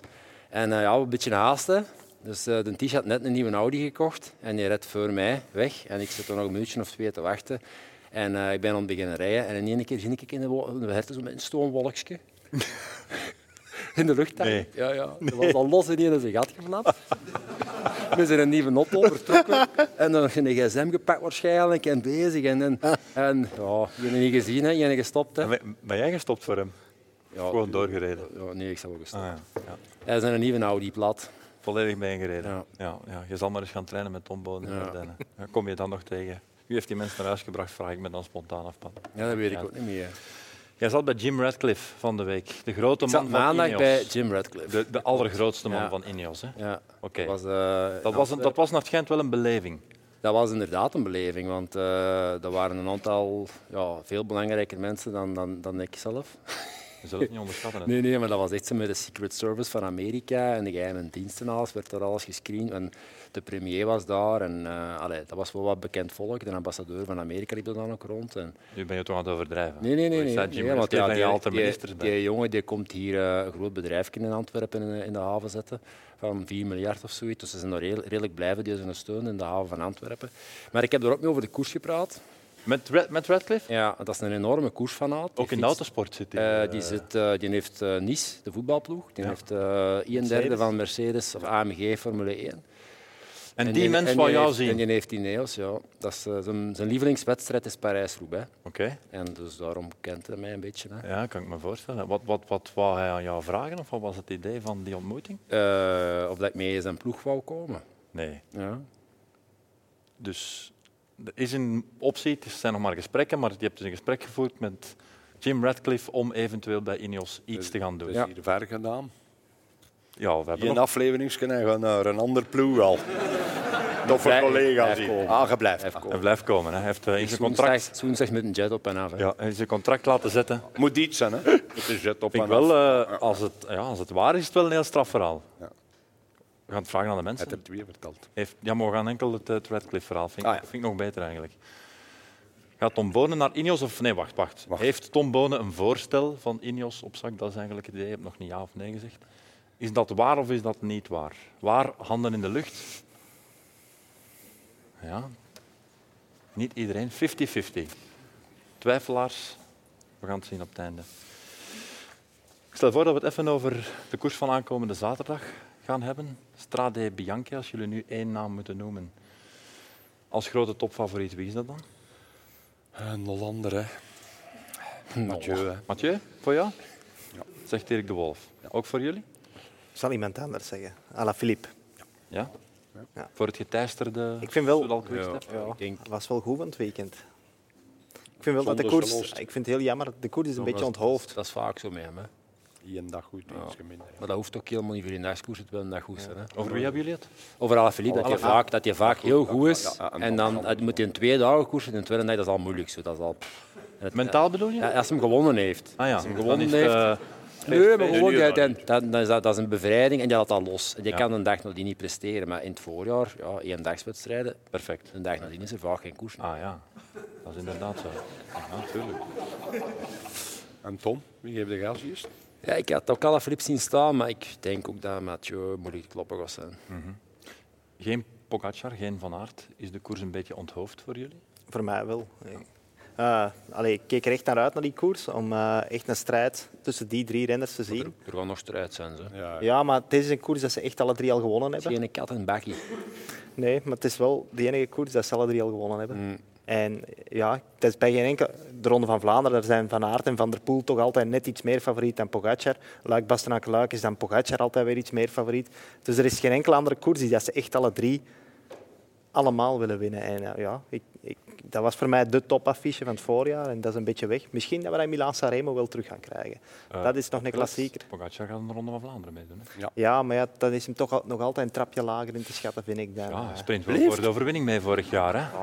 S2: En eh, ja, we een beetje haasten. Dus eh, de Tisch had net een nieuwe Audi gekocht en die redt voor mij weg. En ik zit er nog een minuutje of twee te wachten. En eh, ik ben aan het beginnen rijden en in één keer zie ik in de, wo- in de herten zo met een stoomwolkje. in de lucht. dacht ik. Ja, ja. Er was al los in één zijn gat geflapt. We zijn een nieuwe auto vertrokken. En dan een gsm gepakt waarschijnlijk en bezig. En, en, en ja, je hebt niet gezien, hè. je hebt gestopt. Hè.
S1: En ben- Ben jij gestopt voor hem?
S2: Ja,
S1: Gewoon doorgereden.
S2: Oh. ja, nee, ik zou wel gestopt.
S1: Ah, ja. Ja.
S2: Hij is in een nieuwe Audi plat.
S1: Volledig bijgereden.
S2: Ja.
S1: Ja. Ja, Je zal maar eens gaan trainen met Tom Boon.
S2: Ja.
S1: en Denne. Ja, Kom je dan nog tegen? Wie heeft die mensen naar huis gebracht, vraag ik me dan spontaan af. Pat.
S2: Ja, dat weet ik
S1: Ja.
S2: ook niet meer.
S1: Jij zat bij Jim Radcliffe van de week. De grote
S2: Ik zat
S1: man van
S2: maandag
S1: Ineos.
S2: bij Jim Radcliffe.
S1: De, de allergrootste man
S2: Ja.
S1: van Ineos. Hè?
S2: Ja,
S1: Oké.
S2: was, eh,
S1: Dat, was een, dat was naar het Gent wel een beleving.
S2: dat was inderdaad een beleving, want eh er waren een aantal ja, veel belangrijker mensen dan, dan, dan ik zelf.
S1: Je zult het niet onderschatten. hè.
S2: Nee, nee, maar dat was echt zo met de Secret Service van Amerika en de geheime diensten en alles, werd daar alles gescreend. En de premier was daar en eh, allee, dat was wel wat bekend volk. De ambassadeur van Amerika liep er dan ook rond. En,
S1: Nu ben je toch aan het overdrijven.
S2: Nee, nee, nee.
S1: Hoe is
S2: nee,
S1: dat,
S2: nee,
S1: Jim
S2: want
S1: Radcliffe?
S2: ja,
S1: Ben je
S2: die-
S1: altijd
S2: die-
S1: ministers bij?
S2: Die, jongen die komt hier eh, een groot bedrijfje in Antwerpen in, de- in de haven zetten. Van 4 miljard of zoiets. Dus ze zijn nog redelijk, redelijk blijven die zijn steun in de haven van Antwerpen. Maar ik heb er ook mee over de koers gepraat.
S1: Met, Ra- met Radcliffe?
S2: Ja, dat is een enorme koersfanaat. Die
S1: Ook in de
S2: fietst-
S1: autosport zit
S2: eh,
S1: hij.
S2: die,
S1: eh,
S2: zit, eh, die heeft eh, Nice, de voetbalploeg. Die heeft eh een derde
S3: Mercedes.
S2: van Mercedes of AMG Formule 1.
S1: En, die mensen
S2: en
S1: wou jou
S2: heeft-
S1: zien.
S2: En die heeft Ineos, ja. Dat is, eh, zijn, zijn lievelingswedstrijd is Parijs-Roubaix.
S1: Oké,
S2: En dus daarom kent hij mij een beetje. Hè.
S1: ja, kan ik me voorstellen. Wat, wat, wat wou hij aan jou vragen? Of wat was het idee van die ontmoeting?
S2: Eh, of dat ik mee in zijn ploeg wou komen.
S1: Nee.
S2: Ja.
S1: Dus er is een optie, het zijn nog maar gesprekken, maar je hebt dus een gesprek gevoerd met Jim Radcliffe om eventueel bij Ineos iets te gaan doen.
S4: Dus
S1: Ja,
S2: Ja.
S4: hier ver gedaan.
S1: we hebben
S4: Je
S1: nog...
S4: afleveringsken gaan naar een ander ploeg al. Toffe
S2: Blijf-
S4: collega's
S2: blijf
S4: hier.
S2: komen.
S4: Ah, je blijft.
S2: Blijf komen.
S1: Hij blijft komen. Hè. Hij heeft eh, in zijn contract,
S2: Woensdag, woensdag met een jet op en af. hè.
S1: ja, hij heeft zijn contract laten zetten.
S4: Moet iets zijn, hè? Het is jet op
S1: Ik
S4: en
S1: wel,
S4: af.
S1: eh, als, het, ja, als het waar is, is het wel een heel straf verhaal.
S4: Ja.
S1: We gaan het vragen aan de
S4: Het
S1: mensen.
S4: hebt weer verteld.
S1: Heeft, ja, maar we gaan enkel het, eh, het Radcliffe-verhaal. Vind, ik-
S4: Ah, ja.
S1: vind ik nog beter eigenlijk. Gaat Tom Bonen naar Ineos of... Nee, wacht, wacht,
S4: Wacht.
S1: Heeft Tom Bonen een voorstel van Ineos op zak? Dat is eigenlijk het idee. Je hebt nog niet ja of nee gezegd. Is dat waar of is dat niet waar? Waar, handen in de lucht. Ja. Niet iedereen. 50-50. Twijfelaars. We gaan het zien op het einde. Ik stel voor dat we het even over de koers van aankomende zaterdag gaan hebben. Strade Bianchi, als jullie nu één naam moeten noemen. Als grote topfavoriet, wie is dat dan?
S4: Een Hollander, hè? Mathieu, hè?
S1: Mathieu, voor jou? Zegt Dirk de Wolf. Ook voor jullie?
S3: zal iemand anders zeggen. Ala Philippe.
S1: Ja?
S3: Ja.
S1: Voor het geteisterde...
S3: Ik vind wel-
S1: Soudal Quickstep?
S2: Ik denk,
S3: Dat was wel goed van het weekend. Ik vind wel dat de
S4: Zonder
S3: koers...
S4: verlost.
S3: Ik vind het heel jammer. De koers is een beetje onthoofd.
S2: dat is vaak zo met hem. Hè.
S4: Eén dag goed, iets minder.
S2: Maar dat hoeft ook helemaal niet voor die nachtkoers. Het wil een dag goed zijn. Hè.
S1: Over wie hebben jullie het?
S2: Overal Philippe, dat je
S4: Alaphilippe.
S2: vaak, dat je vaak heel goed is.
S4: ja, en
S2: En dan het moet hij in twee dagen koersen. In tweede dag dat is al moeilijk. Zo. Dat is al, pff. En het-
S1: Mentaal bedoel je?
S2: Ja, als hij hem gewonnen heeft.
S1: Ah ja.
S2: Als hij hem gewonnen
S1: Dan is
S2: heeft.
S1: het, eh,
S2: Nee, maar
S1: feest.
S2: gewoon, ja, dan, dan is dat, dat is een bevrijding en je laat dat los. En je
S1: Ja.
S2: kan een dag nadien niet presteren. Maar in het voorjaar, ja, eendagswedstrijden,
S1: Perfect.
S2: een dag nadien is er vaak geen koers.
S1: Ah ja, dat is inderdaad zo. Ja, natuurlijk.
S4: En Tom, wie geeft de gas eerst?
S2: Ja, ik had ook al Filip zien staan, maar ik denk ook dat Mathieu moeilijk te kloppen gaat zijn.
S1: Geen Pogacar, geen Van Aert. Is de koers een beetje onthoofd voor jullie?
S3: Voor mij wel. Ja. eh, allee, ik keek er echt naar uit naar die koers om eh, echt een strijd tussen die drie renners te zien.
S2: Er gaan nog strijd zijn. Ze.
S4: Ja,
S3: Ja, maar het is een koers dat ze echt alle drie al gewonnen hebben.
S2: Geen kat en bakkie.
S3: Nee, maar het is wel de enige koers dat ze alle drie al gewonnen hebben. En ja, het is bij geen enkel... De Ronde van Vlaanderen, daar zijn Van Aert en Van der Poel toch altijd net iets meer favoriet dan Pogacar. Luik Bastenaken Luik is dan Pogacar altijd weer iets meer favoriet. Dus er is geen enkele andere koers die dat ze echt alle drie allemaal willen winnen. En eh, ja, ik, ik, dat was voor mij de topaffiche van het voorjaar en dat is een beetje weg. Misschien dat we dat in Milaan-Sanremo wel terug gaan krijgen.
S1: Eh,
S3: dat is nog een klassieker.
S1: Pogacar gaat de Ronde van Vlaanderen meedoen. hè.
S3: Ja, maar ja, dan is hem toch al- nog altijd een trapje lager in te schatten, vind ik. Dan.
S1: Ja, hij
S3: eh.
S1: sprint wel voor de overwinning mee vorig jaar. Hè.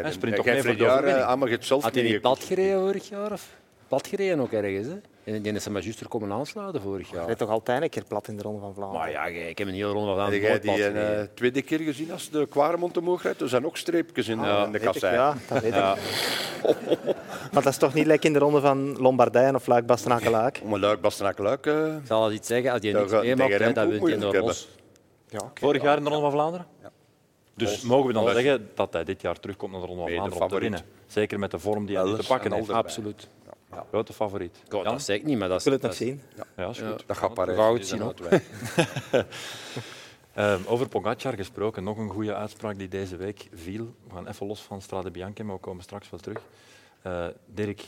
S1: Hij sprint toch mee voor de
S4: jaren.
S1: overwinning.
S4: Ah, maar je hebt zelf
S2: Had hij
S4: niet
S2: niet
S4: gekozen.
S2: plat gereden vorig jaar? Of? Plat gereden ook ergens, hè? En ik denk dat ze maar juist er komen aansluiten vorig
S3: Hij
S2: jaar.
S3: rijdt toch altijd een keer plat in de Ronde van Vlaanderen.
S2: Maar ja, ik heb een heel ronde van
S4: Heb
S2: Vlaanderen
S4: jij
S2: nooit plat
S4: die een
S2: gereden.
S4: eh, tweede keer gezien als de Quaremont omhoog rijdt? Er zijn ook streepjes in, eh, in de
S3: Ah, Weet ik,
S4: kassei.
S3: Ja, dat weet ik. Want dat is toch niet lekker in de ronde van Lombardijn of Luik Bastenaken-Luik?
S4: Om een luik, Bastenak Luik. eh,
S2: Ik zal als iets zeggen, als je
S4: Ja,
S2: niks
S4: tegen
S2: meemaakt, hè,
S4: Remco
S2: dan wint
S4: moet
S2: je
S4: je het
S2: door
S4: hebben.
S2: ons.
S1: Vorig jaar in de Ronde van Vlaanderen. Dus mogen we dan
S4: Als-
S1: zeggen dat hij dit jaar terugkomt naar de Ronde van
S4: Mede
S1: Vlaanderen om te
S4: favoriet.
S1: winnen? Zeker met de vorm die hij nu
S4: Elders
S1: te pakken
S4: en
S1: heeft.
S4: Elders.
S2: Absoluut.
S1: Grote favoriet.
S2: God,
S1: Jan?
S2: dat zeg ik niet, maar dat is...
S3: Ik wil het nog
S2: dat is-
S3: zien.
S1: Ja, is goed.
S4: Dat gaat
S2: We
S4: Parijs.
S2: gaan
S4: die
S2: het
S4: zijn
S2: zien,
S4: uit, wij.
S1: Eh, over Pogacar gesproken, nog een goede uitspraak die deze week viel. We gaan even los van Strade Bianche, maar we komen straks wel terug. Eh, Dirk,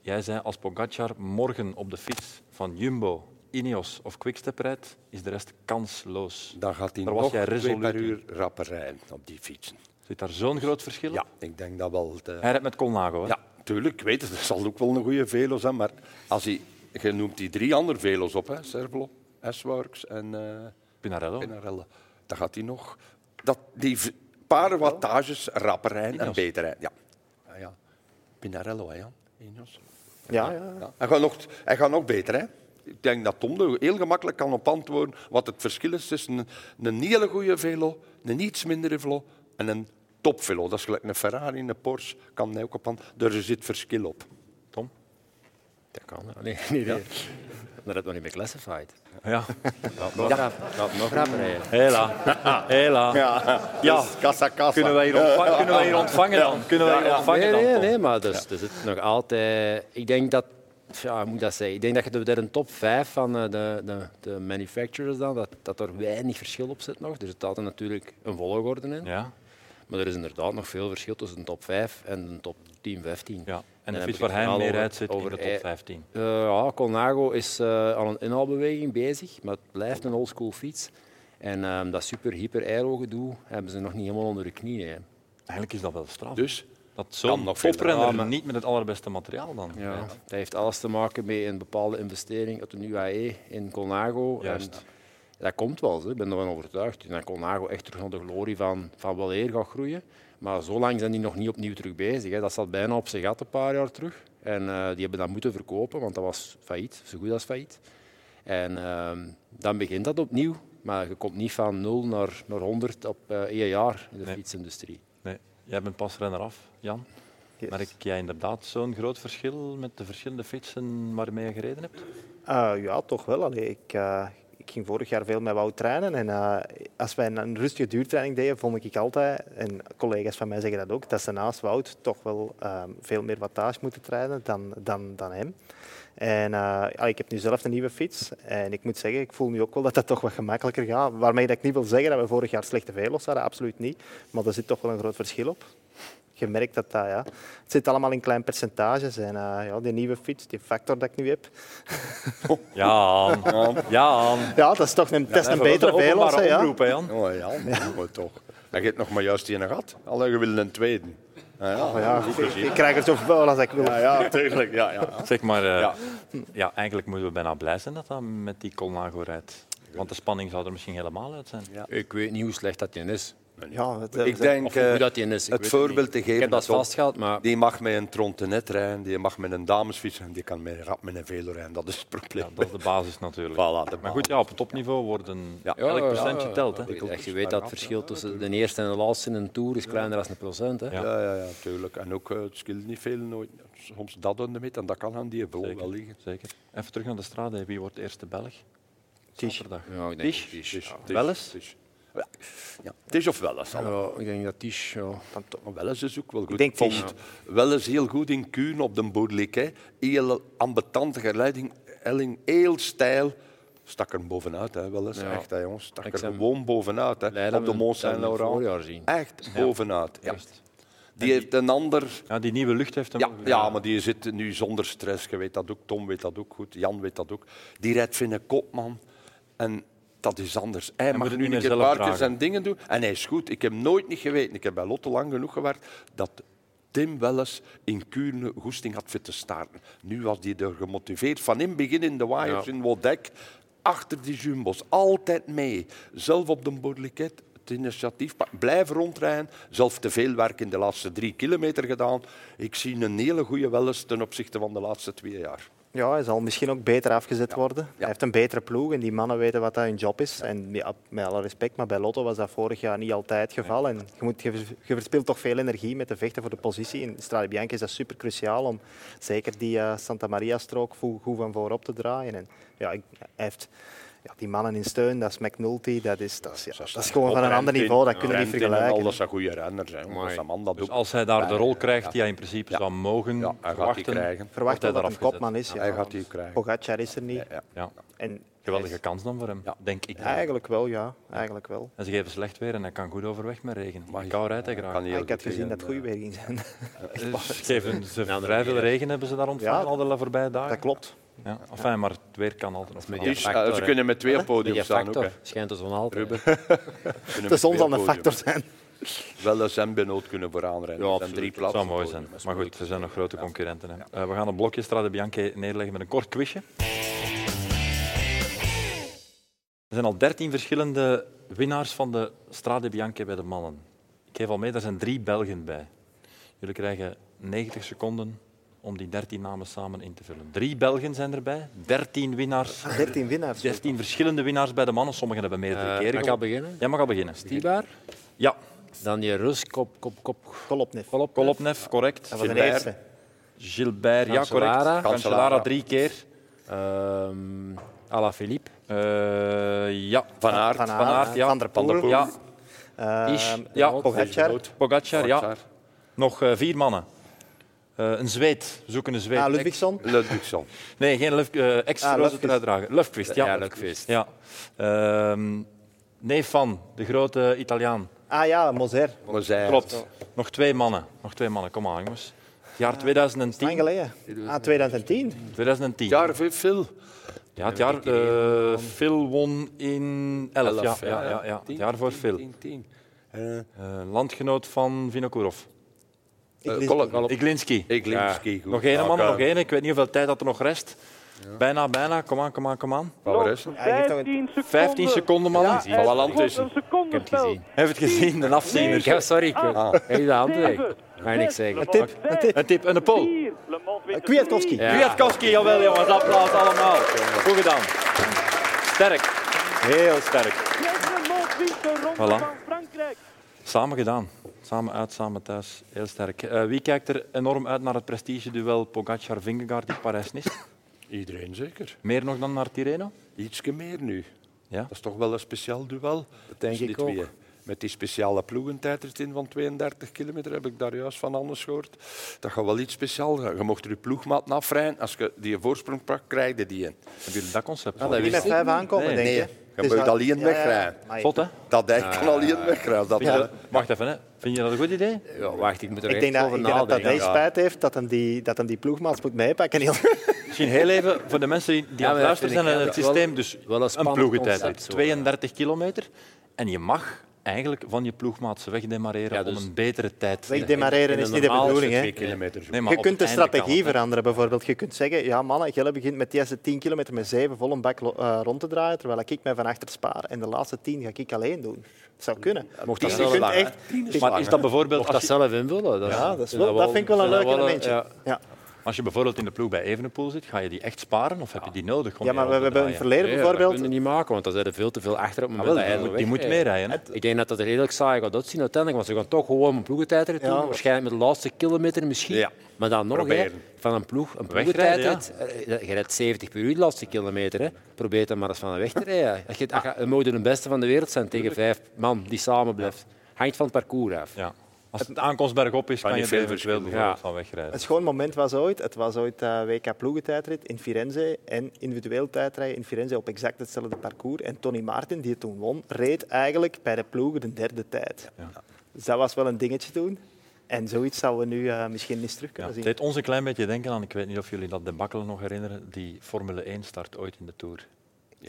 S1: jij zei als Pogacar morgen op de fiets van Jumbo, Ineos of Quickstep rijdt, is de rest kansloos.
S4: Dan gaat hij
S1: Daar was
S4: nog
S1: jij
S4: twee per
S1: resoluut
S4: uur rapper rijden op die fietsen.
S1: Zit daar zo'n groot verschil?
S4: Ja,
S1: op?
S4: ik denk dat wel. het, eh,
S1: Hij rijdt met Colnago, hè?
S4: Ja, tuurlijk, ik weet het. Dat zal ook wel een goede velo zijn. Maar als hij, je noemt die drie andere velo's op, hè, Servlo, S-Works en eh
S1: Pinarello.
S4: Pinarelle. Dan gaat hij nog dat, die v- paar wattages rapper rijden en
S1: Ineos.
S4: beter rijden. Ja. Ja, ja. Pinarello, oh, hè, Jan? Ineos.
S3: Ja, ja.
S4: Ja. Hij, gaat nog, hij gaat nog beter, hè? Ik denk dat Tom er heel gemakkelijk kan op antwoorden wat het verschil is tussen een, een hele goede velo, een iets mindere velo en een topvelo. Dat is gelijk een Ferrari, een Porsche, kan hij ook op antwoorden. Er zit verschil op.
S1: Tom?
S2: Dat kan, hè. nee, nee, nee. Maar dat nog niet meer classified.
S1: Ja.
S2: Dat nog rap- dat nog rapper rijden.
S1: Hela. Hela.
S4: Ja,
S1: Ja. Dus
S4: kassa kassa.
S1: Kunnen wij hier ontvangen, kunnen wij hier ontvangen dan? Kunnen wij hier ontvangen
S2: Nee,
S1: dan,
S2: nee,
S1: Tom?
S2: nee, maar dus, dus het is nog altijd... Ik denk dat... Ja, hoe moet ik dat zeggen? Ik denk dat je de, de top 5 van eh, de, de, de manufacturers dan, dat, dat er weinig verschil op zit nog. Er zit altijd natuurlijk een volgorde in.
S1: Ja.
S2: Maar er is inderdaad nog veel verschil tussen de top 5 en de top 10, 15.
S1: ja. En
S2: dan
S1: de
S2: heb
S1: fiets
S2: ik
S1: waar hij
S2: het verhaal
S1: mee
S2: over-
S1: rijdt zit in
S2: over
S1: de
S2: ei-
S1: top 15.
S2: Eh, ja, Colnago is eh, aan een inhaalbeweging bezig, maar het blijft een oldschool fiets. En ehm, dat super hyper aero gedoe hebben ze nog niet helemaal onder de knieën. hè.
S1: Eigenlijk is dat wel straf.
S4: Dus
S1: Dat
S4: Kan
S1: zo'n
S4: nog veel
S1: poprenner
S4: ramen.
S1: niet met het allerbeste materiaal dan.
S2: Ja.
S1: rijdt.
S2: Dat heeft alles te maken met een bepaalde investering uit de UAE E in Colnago.
S1: Juist.
S2: En dat komt wel, hè. ik ben ervan overtuigd. En dat Colnago echt terug naar de glorie van, van Waleer gaat groeien. Maar zo lang zijn die nog niet opnieuw terug bezig. Hè. Dat zat bijna op zijn gat een paar jaar terug. En eh, die hebben dat moeten verkopen, want dat was failliet, zo goed als failliet. En ehm, dan begint dat opnieuw. Maar je komt niet van 0 naar, naar 100 op eh één jaar in de
S1: Nee.
S2: fietsindustrie.
S1: Nee, jij bent pas renner af, Jan.
S3: Yes.
S1: Merk jij inderdaad zo'n groot verschil met de verschillende fietsen waarmee je gereden hebt?
S3: Eh, ja, toch wel. Allee, ik, eh, ik ging vorig jaar veel met Wout trainen. En eh, als wij een, een rustige duurtraining deden, vond ik altijd, en collega's van mij zeggen dat ook, dat ze naast Wout toch wel eh, veel meer wattage moeten trainen dan, dan, dan hem. En eh, ja, ik heb nu zelf een nieuwe fiets. En ik moet zeggen, ik voel nu ook wel dat dat toch wat gemakkelijker gaat. Waarmee dat ik niet wil zeggen dat we vorig jaar slechte velo's hadden, absoluut niet. Maar er zit toch wel een groot verschil op. Je merkt dat dat, ja. Het zit allemaal in klein percentages. En eh, ja, die nieuwe fiets, die factor dat ik nu heb,
S1: Jan, Jan.
S3: Ja, dat is toch een, dat is een betere Velos. hè, Ja.
S1: oproep, hè, Jan.
S4: Oh ja, maar toch. Hij geeft nog maar juist die in een gat. Alleen je wil een tweede. Ja, ja.
S3: Ja, ik, ik krijg er zoveel als ik wil.
S4: Ja, ja, tuurlijk. Ja, ja.
S1: Zeg maar, eh, ja.
S4: Ja.
S1: eigenlijk moeten we bijna blij zijn dat dat met die Colnago rijdt. Want de spanning zou er misschien helemaal uit zijn.
S2: Ik weet niet hoe slecht dat in is.
S3: Ja, het,
S4: Ik denk
S2: Of hoe
S4: eh,
S2: dat die is, ik weet
S4: het
S2: het
S4: voorbeeld
S2: niet.
S4: te
S2: Ik
S4: geven.
S2: heb dat
S4: Tom,
S2: vastgehaald, maar-
S4: Die mag met een trontenet rijden, die mag met een damesfiets en die kan met rap met een velo rijden. Dat is het probleem.
S1: Ja, dat is de basis natuurlijk.
S4: Voilà, de
S1: maar goed, ja, op het topniveau worden
S4: Ja.
S1: elk
S2: ja,
S1: procentje telt. Hè.
S2: Ik weet echt, je weet dat het verschil tussen de eerste en de laatste in een tour is kleiner dan een procent. Hè?
S1: Ja.
S4: Ja, ja, ja, tuurlijk. En ook, eh, het scheelt niet veel. Nooit. Soms dat doen met en dat kan aan die velo wel liggen.
S1: Zeker. Even terug naar de strade. Wie wordt de eerste Belg? Zaterdag.
S2: Ja, ik denk
S1: Tisch?
S2: ook Tisch.
S4: Dus,
S1: Wel eens?
S4: Ja. Ja. Het is of wel eens al.
S2: Ja, ik denk dat Tisch. Ja.
S3: Dan toch.
S4: Maar wel eens is ook wel goed.
S3: Ik denk
S4: vond
S3: Tisch.
S4: wel eens heel goed in Kuhn op de Boerlik. hè. Heel ambetante geleiding, helling, heel stijl. Stak er bovenuit, hè, wel eens.
S2: Ja.
S4: Echt, hè, jongens. Stak
S2: Ik
S4: er
S2: zei-
S4: gewoon bovenuit. Hè.
S2: Leiden
S4: Op de
S2: we-
S4: Mont
S2: hebben we
S4: Saint-Laurent.
S2: vorig jaar zien.
S4: Echt bovenuit. Ja.
S2: Echt.
S4: Die heeft een ander...
S1: Ja, die nieuwe lucht heeft hem
S4: Ja,
S1: wel gedaan.
S4: ja, maar die zit nu zonder stress. Je weet dat ook. Tom weet dat ook goed. Jan weet dat ook. Die rijdt vind een kopman. En dat is anders. Hij
S1: moet
S4: mag
S1: het
S4: nu
S1: niet
S4: een
S1: meer
S4: keer een
S1: zelf
S4: paar keer
S1: dragen.
S4: zijn dingen doen. En hij is goed. Ik heb nooit niet geweten. Ik heb bij Lotte lang genoeg gewerkt. Dat Tim wel eens in Kuurne goesting had fit te starten. Nu was hij er gemotiveerd. Van in het begin in de waaiers
S2: Ja.
S4: in Wodek. Achter die jumbo's. Altijd mee. Zelf op de Bourliket. Het initiatief. pak- Blijf rondrijden. Zelf te veel werk in de laatste drie kilometer gedaan. Ik zie een hele goede wel eens ten opzichte van de laatste twee jaar.
S3: Ja, hij zal misschien ook beter afgezet worden. Hij heeft een betere ploeg en die mannen weten wat dat hun job is. En ja, met alle respect, maar bij Lotto was dat vorig jaar niet altijd het geval. En je, moet, je vers- je verspilt toch veel energie met de vechten voor de positie. In Strade Bianca is dat super cruciaal om zeker die eh, Santa Maria-strook vo- goed van voorop te draaien. En, ja, ik- hij heeft ja, die mannen in steun, dat is McNulty, dat is, dat is, ja, dat is gewoon van een ander niveau, dat kunnen we niet
S4: Al
S3: vergelijken.
S4: dat zijn goede renners. Hè. jongens.
S2: Amai.
S4: Dat man dat
S1: Dus
S4: ook.
S1: als hij daar de rol krijgt die hij in principe
S4: Ja.
S1: zou mogen
S4: Ja, hij gaat die
S1: verwachten,
S4: krijgen.
S3: Verwacht dat
S1: wordt hij
S3: dat een
S1: eraf gezet.
S3: kopman is. Ja.
S4: Hij gaat die krijgen.
S3: Pogacar is er niet.
S4: Ja.
S1: Ja.
S3: En
S1: Geweldige kans dan voor hem,
S4: Ja.
S1: denk ik.
S3: Eigenlijk wel, ja. Eigenlijk wel.
S1: En ze geven slecht weer en hij kan goed overweg met regen. Maar
S4: je-
S1: kou rijdt hij graag.
S4: Kan heel
S3: Ah, ik had
S4: goed
S3: gezien
S4: tegen,
S3: dat het goede
S4: eh,
S3: weer ging zijn.
S1: Dus ze geven ze vrij veel regen hebben ze daar ontvangen
S3: Ja,
S1: al de voorbije dagen.
S3: Dat klopt.
S1: Ja. Enfin, maar het weer kan altijd nog
S2: met
S1: veranderen.
S4: Dus,
S2: Ja,
S4: eh,
S2: factor,
S4: ze
S2: hè.
S4: kunnen met twee op podium
S2: Die
S4: staan ook.
S2: factor
S4: hè.
S2: schijnt er zo'n altijd.
S4: Kunnen
S3: De
S4: met
S3: zon
S4: twee
S3: zal
S4: op
S3: een
S4: podium.
S3: factor zijn.
S4: Wel eens en Benoot kunnen vooraan rennen.
S2: Ja,
S4: Ja,
S2: absoluut.
S4: drie
S1: Het
S4: plaatsen.
S1: zou mooi zijn. Maar goed, er zijn nog grote concurrenten. Hè. Eh, we gaan een blokje Strade Bianche neerleggen met een kort quizje. Er zijn al dertien verschillende winnaars van de Strade Bianche bij de mannen. Ik geef al mee, daar zijn drie Belgen bij. Jullie krijgen 90 seconden om die 13 namen samen in te vullen. Drie Belgen zijn erbij, 13 winnaars,
S3: 13 winnaars.
S1: 13 verschillende winnaars bij de mannen. Sommigen hebben meerdere
S2: Eh,
S1: keren
S2: mag ik al
S1: gewonnen.
S2: beginnen?
S1: Jij mag al beginnen.
S2: Stibar,
S1: Ja,
S2: dan die Rus, kop, kop, kop.
S3: Kolopnev.
S2: Kolop,
S1: Kolopnev, correct.
S3: Dat was de
S4: Gilbert.
S3: eerste.
S1: Gilbert, ja, correct.
S2: Cancellara.
S1: Cancellara drie keer.
S2: Ehm Alaphilippe,
S1: Eh, ja.
S4: Van Aert.
S3: Van
S1: Van Aert,
S3: Aert,
S1: ja.
S3: Van der Poel.
S1: Ja,
S3: Ehm,
S2: Ish,
S1: ja.
S3: Pogacar. Ah,
S1: Pogacar, ja.
S4: Pogacar.
S1: Nog eh, vier mannen. Eh, een Zweed, We zoeken een Zweed.
S3: Ah, Ludwigsson.
S4: Ludwigsson.
S1: Nee, geen Luf, eh
S3: Ah,
S1: extra
S3: Lufquist.
S1: eruit dragen. Lufquist, ja.
S2: Ja, Lufquist.
S1: Ja. Ehm, neef van, de grote Italiaan.
S3: Ah ja, Moser.
S4: Maar zij-
S1: Klopt. Nog twee mannen. Nog twee mannen, kom aan jongens. Het jaar 2010.
S3: Lang geleden. Ah, 2010.
S1: 2010.
S4: Ja, veel, veel.
S1: Ja, het jaar eh, Phil won in 11. Ja, ja, ja, ja. Het jaar voor Phil.
S4: Tien, tien, tien. Eh,
S1: Eh, landgenoot van Vinokourov.
S4: eh, Kolop.
S1: Iglinski.
S4: Iglinski, goed.
S1: Nog één
S4: Ja,
S1: man,
S4: kan.
S1: nog één. Ik weet niet hoeveel tijd dat er nog rest. Bijna, bijna. Kom aan, kom aan, kom aan.
S4: Van de rest?
S3: Hij geeft nog een-
S7: 15 seconden.
S1: 15 seconden, man.
S7: Ja,
S1: Gezien.
S7: en
S4: Voilà,
S7: komt
S4: tussen.
S7: Een seconde
S2: ik heb het gezien.
S1: Heeft het gezien, een afziener.
S2: Ik heb, sorry, ik
S7: Ah.
S2: heb je de hand weg. Mag ik niks zeggen.
S3: tip, een tip.
S1: Een tip en een pol.
S7: Le Mans wint de
S3: Kwiatkowski.
S2: Ja.
S1: Kwiatkowski, jawel jongens. Applaus allemaal. Goed gedaan. Sterk. Heel sterk.
S7: Le Mans wint de ronde
S1: Voilà.
S7: van Frankrijk.
S1: Samen gedaan. Samen uit, samen thuis. Heel sterk. Eh, wie kijkt er enorm uit naar het prestigeduel Pogacar-Vingegaard in Parijs-Nice?
S4: Iedereen zeker.
S1: Meer nog dan naar Tireno?
S4: Ietske meer nu.
S1: Ja.
S4: Dat is toch wel een speciaal duel. Dat
S2: denk ik ook.
S4: Met die speciale ploegentijdrit in van 32 kilometer heb ik daar juist van anders gehoord. Dat gaat wel iets speciaals. zijn. Je mocht er je ploegmaat afrijden. Als je die voorsprong pakt, krijg je die.
S1: Hebben jullie dat concept?
S2: Ah,
S1: al?
S2: dat
S3: Niet met
S2: wist ik.
S3: vijf aankomen,
S1: Nee,
S3: denk
S4: nee.
S3: je?
S4: Je moet alleen wegrijden.
S3: Maar
S1: Zot, hè?
S4: Dat hij kan alleen wegrijden. Dat
S1: Vind je dat- Wacht even, hè. Vind je dat een goed idee?
S2: Ja, wacht, ik moet er
S3: Ik
S2: echt
S3: denk dat,
S2: over
S3: ik denk dat, dat
S2: nadenken.
S3: hij spijt heeft dat hem die, dat hem die ploegmaats moet meepakken. Heel-
S1: Misschien heel even voor de mensen die aan
S2: maar
S1: het
S2: dat
S1: luisteren
S2: vind
S1: zijn
S2: ik
S1: en het
S2: eigenlijk wel-
S1: systeem. Dus
S2: wel een
S1: een
S2: spannend
S1: ploegentijd.
S2: concept, zo,
S1: 32 kilometer. En je mag eigenlijk van je ploegmaatse weg demareren
S2: Ja, dus-
S1: om een betere tijd te
S3: Zeg,
S1: rijden.
S3: demareren is niet de bedoeling.
S4: twee
S3: Hè.
S4: kilometer. zo.
S1: Nee, maar
S3: Je
S1: op
S3: kunt de
S1: het einde
S3: strategie
S1: kan het, hè.
S3: veranderen bijvoorbeeld. Je kunt zeggen, ja mannen, Gelle begint met de eerste 10 kilometer met 7 vol een bak lo- eh, rond te draaien, terwijl ik mij van achter spaar. En de laatste 10 ga ik alleen doen. Dat zou kunnen.
S2: Mocht dat
S3: Je
S2: zelf
S3: kunt
S2: lang, hè?
S3: echt-
S4: Tien
S1: Maar is dat bijvoorbeeld...
S2: Mocht dat
S1: Als je,
S2: zelf invullen? Dat,
S3: Ja, dat, is wel, dat vind ik wel een leuk elementje. Ja.
S1: Als je bijvoorbeeld in de ploeg bij Evenepoel zit, ga je die echt sparen of heb je die nodig? om
S3: Ja,
S1: die
S3: maar we
S1: rond te
S3: hebben in
S1: draaien?
S3: het verleden
S2: Nee, dat
S3: bijvoorbeeld...
S2: kunnen we niet maken, want dan zijn er veel te veel achter op het
S1: Ah,
S2: moment
S1: wel,
S2: dat
S1: die,
S2: hij
S1: moet, die moet meerijden. hè.
S2: Ik denk dat dat er redelijk saai gaat uitzien uiteindelijk, want ze gaan toch gewoon een ploegentijdrit doen.
S3: Ja.
S2: Waarschijnlijk met de laatste kilometer misschien.
S4: Ja.
S2: Maar dan nog, hè,
S4: Proberen.
S2: van een ploeg, een
S1: Wegrijden,
S2: ploegentijdrit. eh, Je rijdt 70 per uur de laatste kilometer. Hè. Probeer dan maar eens van de weg te rijden. Als je, als je, je moet de beste van de wereld zijn tegen vijf man die samen blijft. Hangt van het parcours af.
S1: Ja. Als het aankomstberg op is, kan,
S4: niet
S1: je er
S4: veel
S1: eventueel
S4: verschillen.
S1: bijvoorbeeld
S2: Ja.
S1: van wegrijden.
S3: Een schoon moment was ooit. Het was ooit eh, WK ploegentijdrit in Firenze en individueel tijdrijden in Firenze op exact hetzelfde parcours. En Tony Martin, die het toen won, reed eigenlijk bij de ploegen de derde tijd. Dus dat was wel een dingetje toen. En zoiets zouden we nu eh, misschien eens terug
S1: Ja,
S3: kunnen
S1: het
S3: zien.
S1: deed ons een klein beetje denken aan, ik weet niet of jullie dat debakkelen nog herinneren, die Formule 1-start ooit in de Tour.